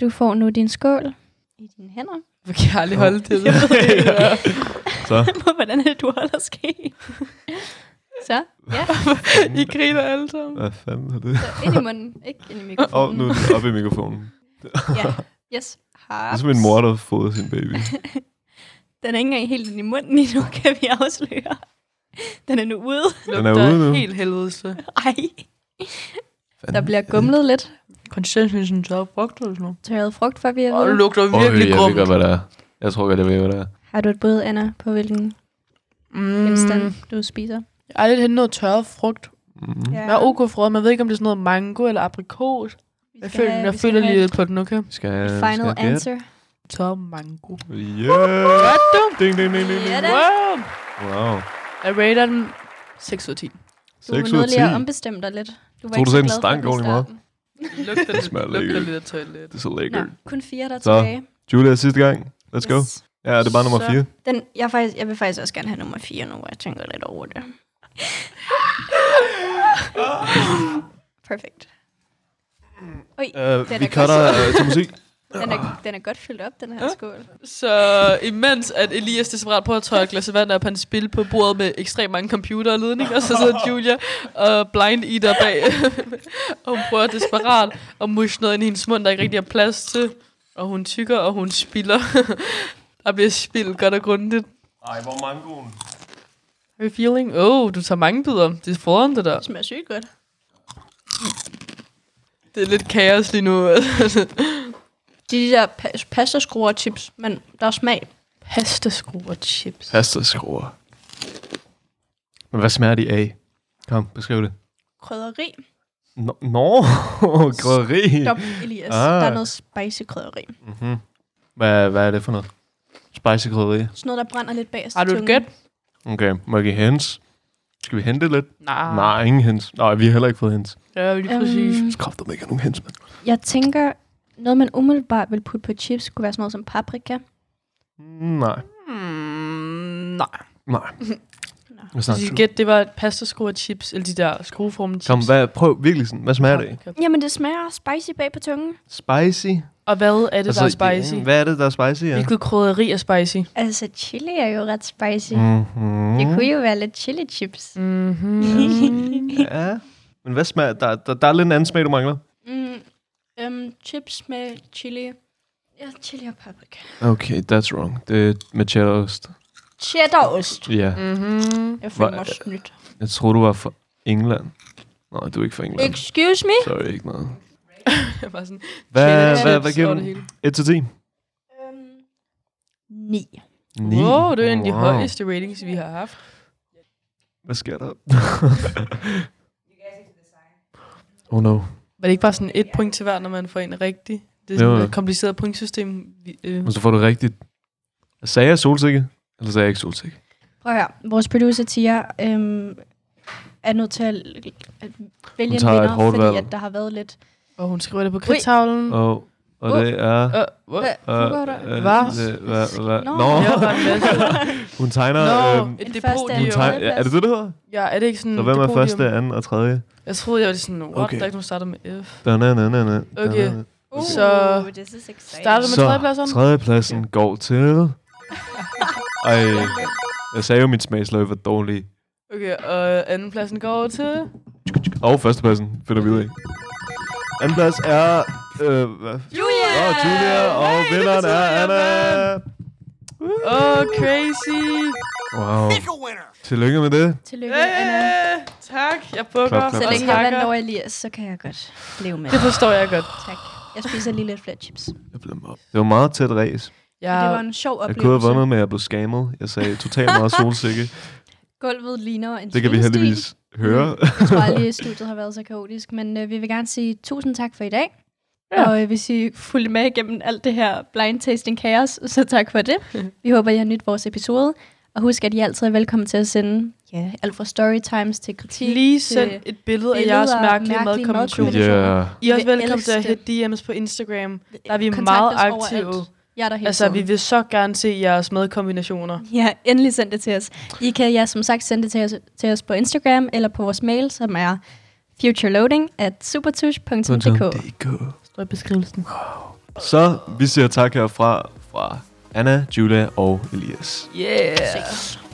E: Du får nu din skål i dine hænder.
C: Jeg kan aldrig holde til det.
D: Så,
E: Hvordan er det, du holder ske? Så, ja,
C: I griner alle sammen.
D: hvad fanden er det?
E: så ind i munden, ikke ind i
D: Åh, oh,
E: mikrofonen.
D: nu er den oppe i mikrofonen.
E: Ja, yes.
D: Det
E: Haps.
D: er som en mor, der fodrer sin
E: Den
D: baby.
E: er ikke engang helt ind i munden endnu, kan vi afsløre. Den er nu ude.
D: Den er ude nu.
C: Helt helvedes.
E: Ej. Der bliver gumlet lidt.
C: Konsistensen så frugt eller sådan noget.
E: Tørret frugt, for vi har
C: Og det
E: ved.
C: lugter virkelig
D: Øh, jeg ved
C: grumt.
D: godt, hvad der er. Jeg tror godt, jeg ved, hvad der er.
E: Har du et bud, Anna, på hvilken
C: Mm.
E: genstand du spiser?
C: Jeg har lidt hentet noget tørret frugt.
D: Mm.
E: Ja.
C: Jeg er ok for, man ved ikke, om det er sådan noget mango eller aprikos. Jeg føler, jeg føler lige lidt på den, okay?
D: Vi skal have...
E: Final
D: øh, skal have gæt.
E: answer.
C: Tørret mango.
D: Yeah!
C: du?
D: Ding, ding, ding, ding,
E: Ja
D: ding.
E: da.
C: Wow!
D: Wow.
C: Jeg rater den 6 ud af 10.
E: Du var
D: 6 ud af
E: nødt
D: 10.
E: lige at ombestemme dig lidt. Du
D: Tror du
E: så
D: selv, den
E: glad for
D: stank
E: den i
D: ordentligt meget?
E: starten.
C: Lugter lidt,
D: smager
C: lugter
D: lækkert.
C: lidt af toilet.
D: Det er så lækkert.
E: Nå, kun fire, der er
D: Så,
E: tilbage.
D: Julia, sidste gang. Let's go.
E: Yes.
D: Ja, det er bare nummer
C: Så.
D: 4.
E: Den, jeg, er faktisk, jeg vil faktisk også gerne have nummer 4 nu, hvor jeg tænker lidt over det. Perfekt. Oj,
D: Uh,
E: Den
D: vi
E: er
D: cutter
E: godt.
D: uh, til musik.
E: den er, den er godt fyldt op, den her skål.
C: Så imens at Elias desperat prøver at tørre et glas vand op, han spil på bordet med ekstremt mange computer og ledninger, så sidder Julia og blind eater bag, og hun prøver desperat at mushe noget ind i hendes mund, der ikke rigtig er plads til, og hun tykker, og hun spiller. der bliver spildt godt og grundigt.
D: Ej, hvor mangoen.
C: Her feeling? Oh, du tager mange bidder. Det er foran det der.
E: Det smager sygt godt.
C: Det er lidt kaos lige nu.
E: Det er de der pa- pastaskruer chips, men der er smag.
C: Pastaskru og chips.
D: Pasta skruer. Men hvad smager de af? Kom, beskriv det.
E: Krydderi.
D: Nå, no, krydderi.
E: Stop, Elias.
D: Ah.
E: Der er noget spicy krydderi.
D: Mhm. Hvad, hvad er det for noget? Spicy krydderi.
E: Sådan noget, der brænder lidt bagerst. i
C: Har du et
E: tungen.
C: gæt?
D: Okay, må jeg give hints? Skal vi hente lidt?
C: Nej.
D: Nej, ingen hints. Nej, vi har heller ikke fået hints.
C: Det er jo lige præcis.
E: Øhm,
D: Kraft, om ikke er nogen hints, mand.
E: jeg tænker, noget man umiddelbart vil putte på chips, kunne være sådan noget som paprika.
D: Mm, Nej,
C: Mm, nej.
D: nej. Hvad
C: Så
D: snakker
C: dit
D: du?
C: gæt, det var et pastaskru og chips, eller de der skrueformede chips.
D: Kom, hvad, prøv virkelig sådan. Hvad smager det af?
C: Paprika.
E: Jamen, det smager spicy bag på tungen.
D: Spicy?
C: Og hvad er det, altså, der er spicy?
D: mm, Hvad er det, der er spicy? Ja?
C: Hvilket krydderi er spicy?
E: Altså, chili er jo ret spicy. Mm.
D: Mm-hmm.
E: Det kunne jo være lidt chili chips.
C: Mm-hmm.
D: Ja. Men hvad smager? Der, der, der er lidt en anden smag, du mangler.
E: Mm. Um, chips med chili. Ja, chili og paprika.
D: Okay, that's wrong. Det er med cheddarost.
E: Cheddarost.
D: Ja, yeah.
C: Mm-hmm.
E: Jeg
D: føler
E: føler
D: Hva- mig
E: mig snydt.
D: jeg troede, du var fra England. Nej, du er ikke fra England.
E: Excuse me?
D: Sorry, ikke noget.
C: Jeg var sådan,
D: Hvad,
C: Chili
D: hvad,
C: chips
D: hvad giver
C: over
D: du?
C: det hele.
D: 1 til 10?
E: Um, ni.
D: 9.
C: wow, det er en af de højeste ratings, vi har haft.
D: Hvad sker der? oh no.
C: Var det ikke bare sådan et point til hver, når man får en rigtig? Det er
D: Jo,
C: sådan
D: jo.
C: et kompliceret pointsystem. Vi, øh,
D: Og så får du rigtigt. Sagde jeg solsikke? Eller sagde jeg ikke solsikke?
E: Prøv at høre. Vores producer Tia øhm, er nødt til at, at vælge en
D: tager et
E: vinder,
D: hårdt
E: fordi
D: valg.
E: at der har været lidt...
C: Og hun skriver det på kridtavlen. Uh,
D: Og, og det er...
C: uh,
E: Hvad foregår der?
D: øh,
C: Hvad?
D: det- hvad- hvad-
E: Nå.
D: Nå,
C: Jeg var bare en masse.
D: hun tegner...
C: Nå,
D: øhm,
C: et
E: første-
D: hun
E: det er
C: depodium.
E: teg-
D: tegner ja, er det det, det hedder?
C: Ja, er Mm, det ikke sådan
D: Så hvem er
C: depodium?
D: første, anden og tredje?
C: Jeg troede, jeg var sådan, what,
B: Okay.
C: okay. der er ikke nogen, der starter med F.
D: Da, na, na, na, na, da,
C: Okay.
D: na, na.
E: Uh,
C: Så-
E: this is exciting.
C: Starter med
D: Så
C: tredjepladsen?
D: tredjepladsen går til... Ej, jeg sagde jo, at min smagsløg var dårlig.
C: Okay, og andenpladsen går over til...
D: Og førstepladsen finder vi ud af. Andenplads er... Øh, hvad?
C: Julia!
D: Og Julia, og vinderen er Anna!
C: Åh, oh, crazy!
D: Wow. Tillykke med det.
E: Tillykke, Anna.
C: Yeah, tak, jeg bukker.
D: Klap, klap,
E: Så
D: klap.
C: og
E: længe jeg vandt
C: takker.
E: over Elias, så kan jeg godt leve med
C: Det
E: det.
C: forstår jeg godt.
E: Tak. Jeg spiser lige lidt flere chips. Men
D: Jeg blev mobbet. Det var meget tæt race.
C: Jeg,
E: Det var en sjov
D: Jeg kunne have
E: oplevelse.
D: vundet, men jeg blev skammet. Jeg sagde totalt meget solsikke.
E: Gulvet ligner en
D: Det kan vi
E: svinestil.
D: heldigvis høre.
C: Mm.
E: Jeg tror aldrig, at studiet har været så kaotisk. Men øh, vi vil gerne sige tusind tak for i dag. Ja. Og øh, hvis I fulgte med igennem alt det her blind tasting kaos, så tak for det. Vi håber, I har nydt vores episode. Og husk, at I altid er velkommen til at sende ja, alt fra storytimes til kritik.
C: Lige
E: til-
C: send et billede af jeres
E: øh, billeder,
C: mærkelige
E: mærkelige
C: madkombination.
E: madkombinationer.
D: Yeah.
C: I er også
E: Vi
C: velkommen til at
E: elsker
C: hente DM's på Instagram. Der er vi
E: Kontakt
C: meget
E: os
C: aktive.
E: overalt. Jeg er der hele
C: Altså, vi
E: tiden.
C: vil så gerne se jeres madkombinationer.
E: Ja, endelig send det til os. I kan, ja, som sagt, sende det til os, til os på Instagram eller på vores mail, som er futureloading at supertush.dk.
C: Står i beskrivelsen.
D: Så vi siger tak herfra fra Anna, Julia og Elias.
C: Yeah!
E: Yes.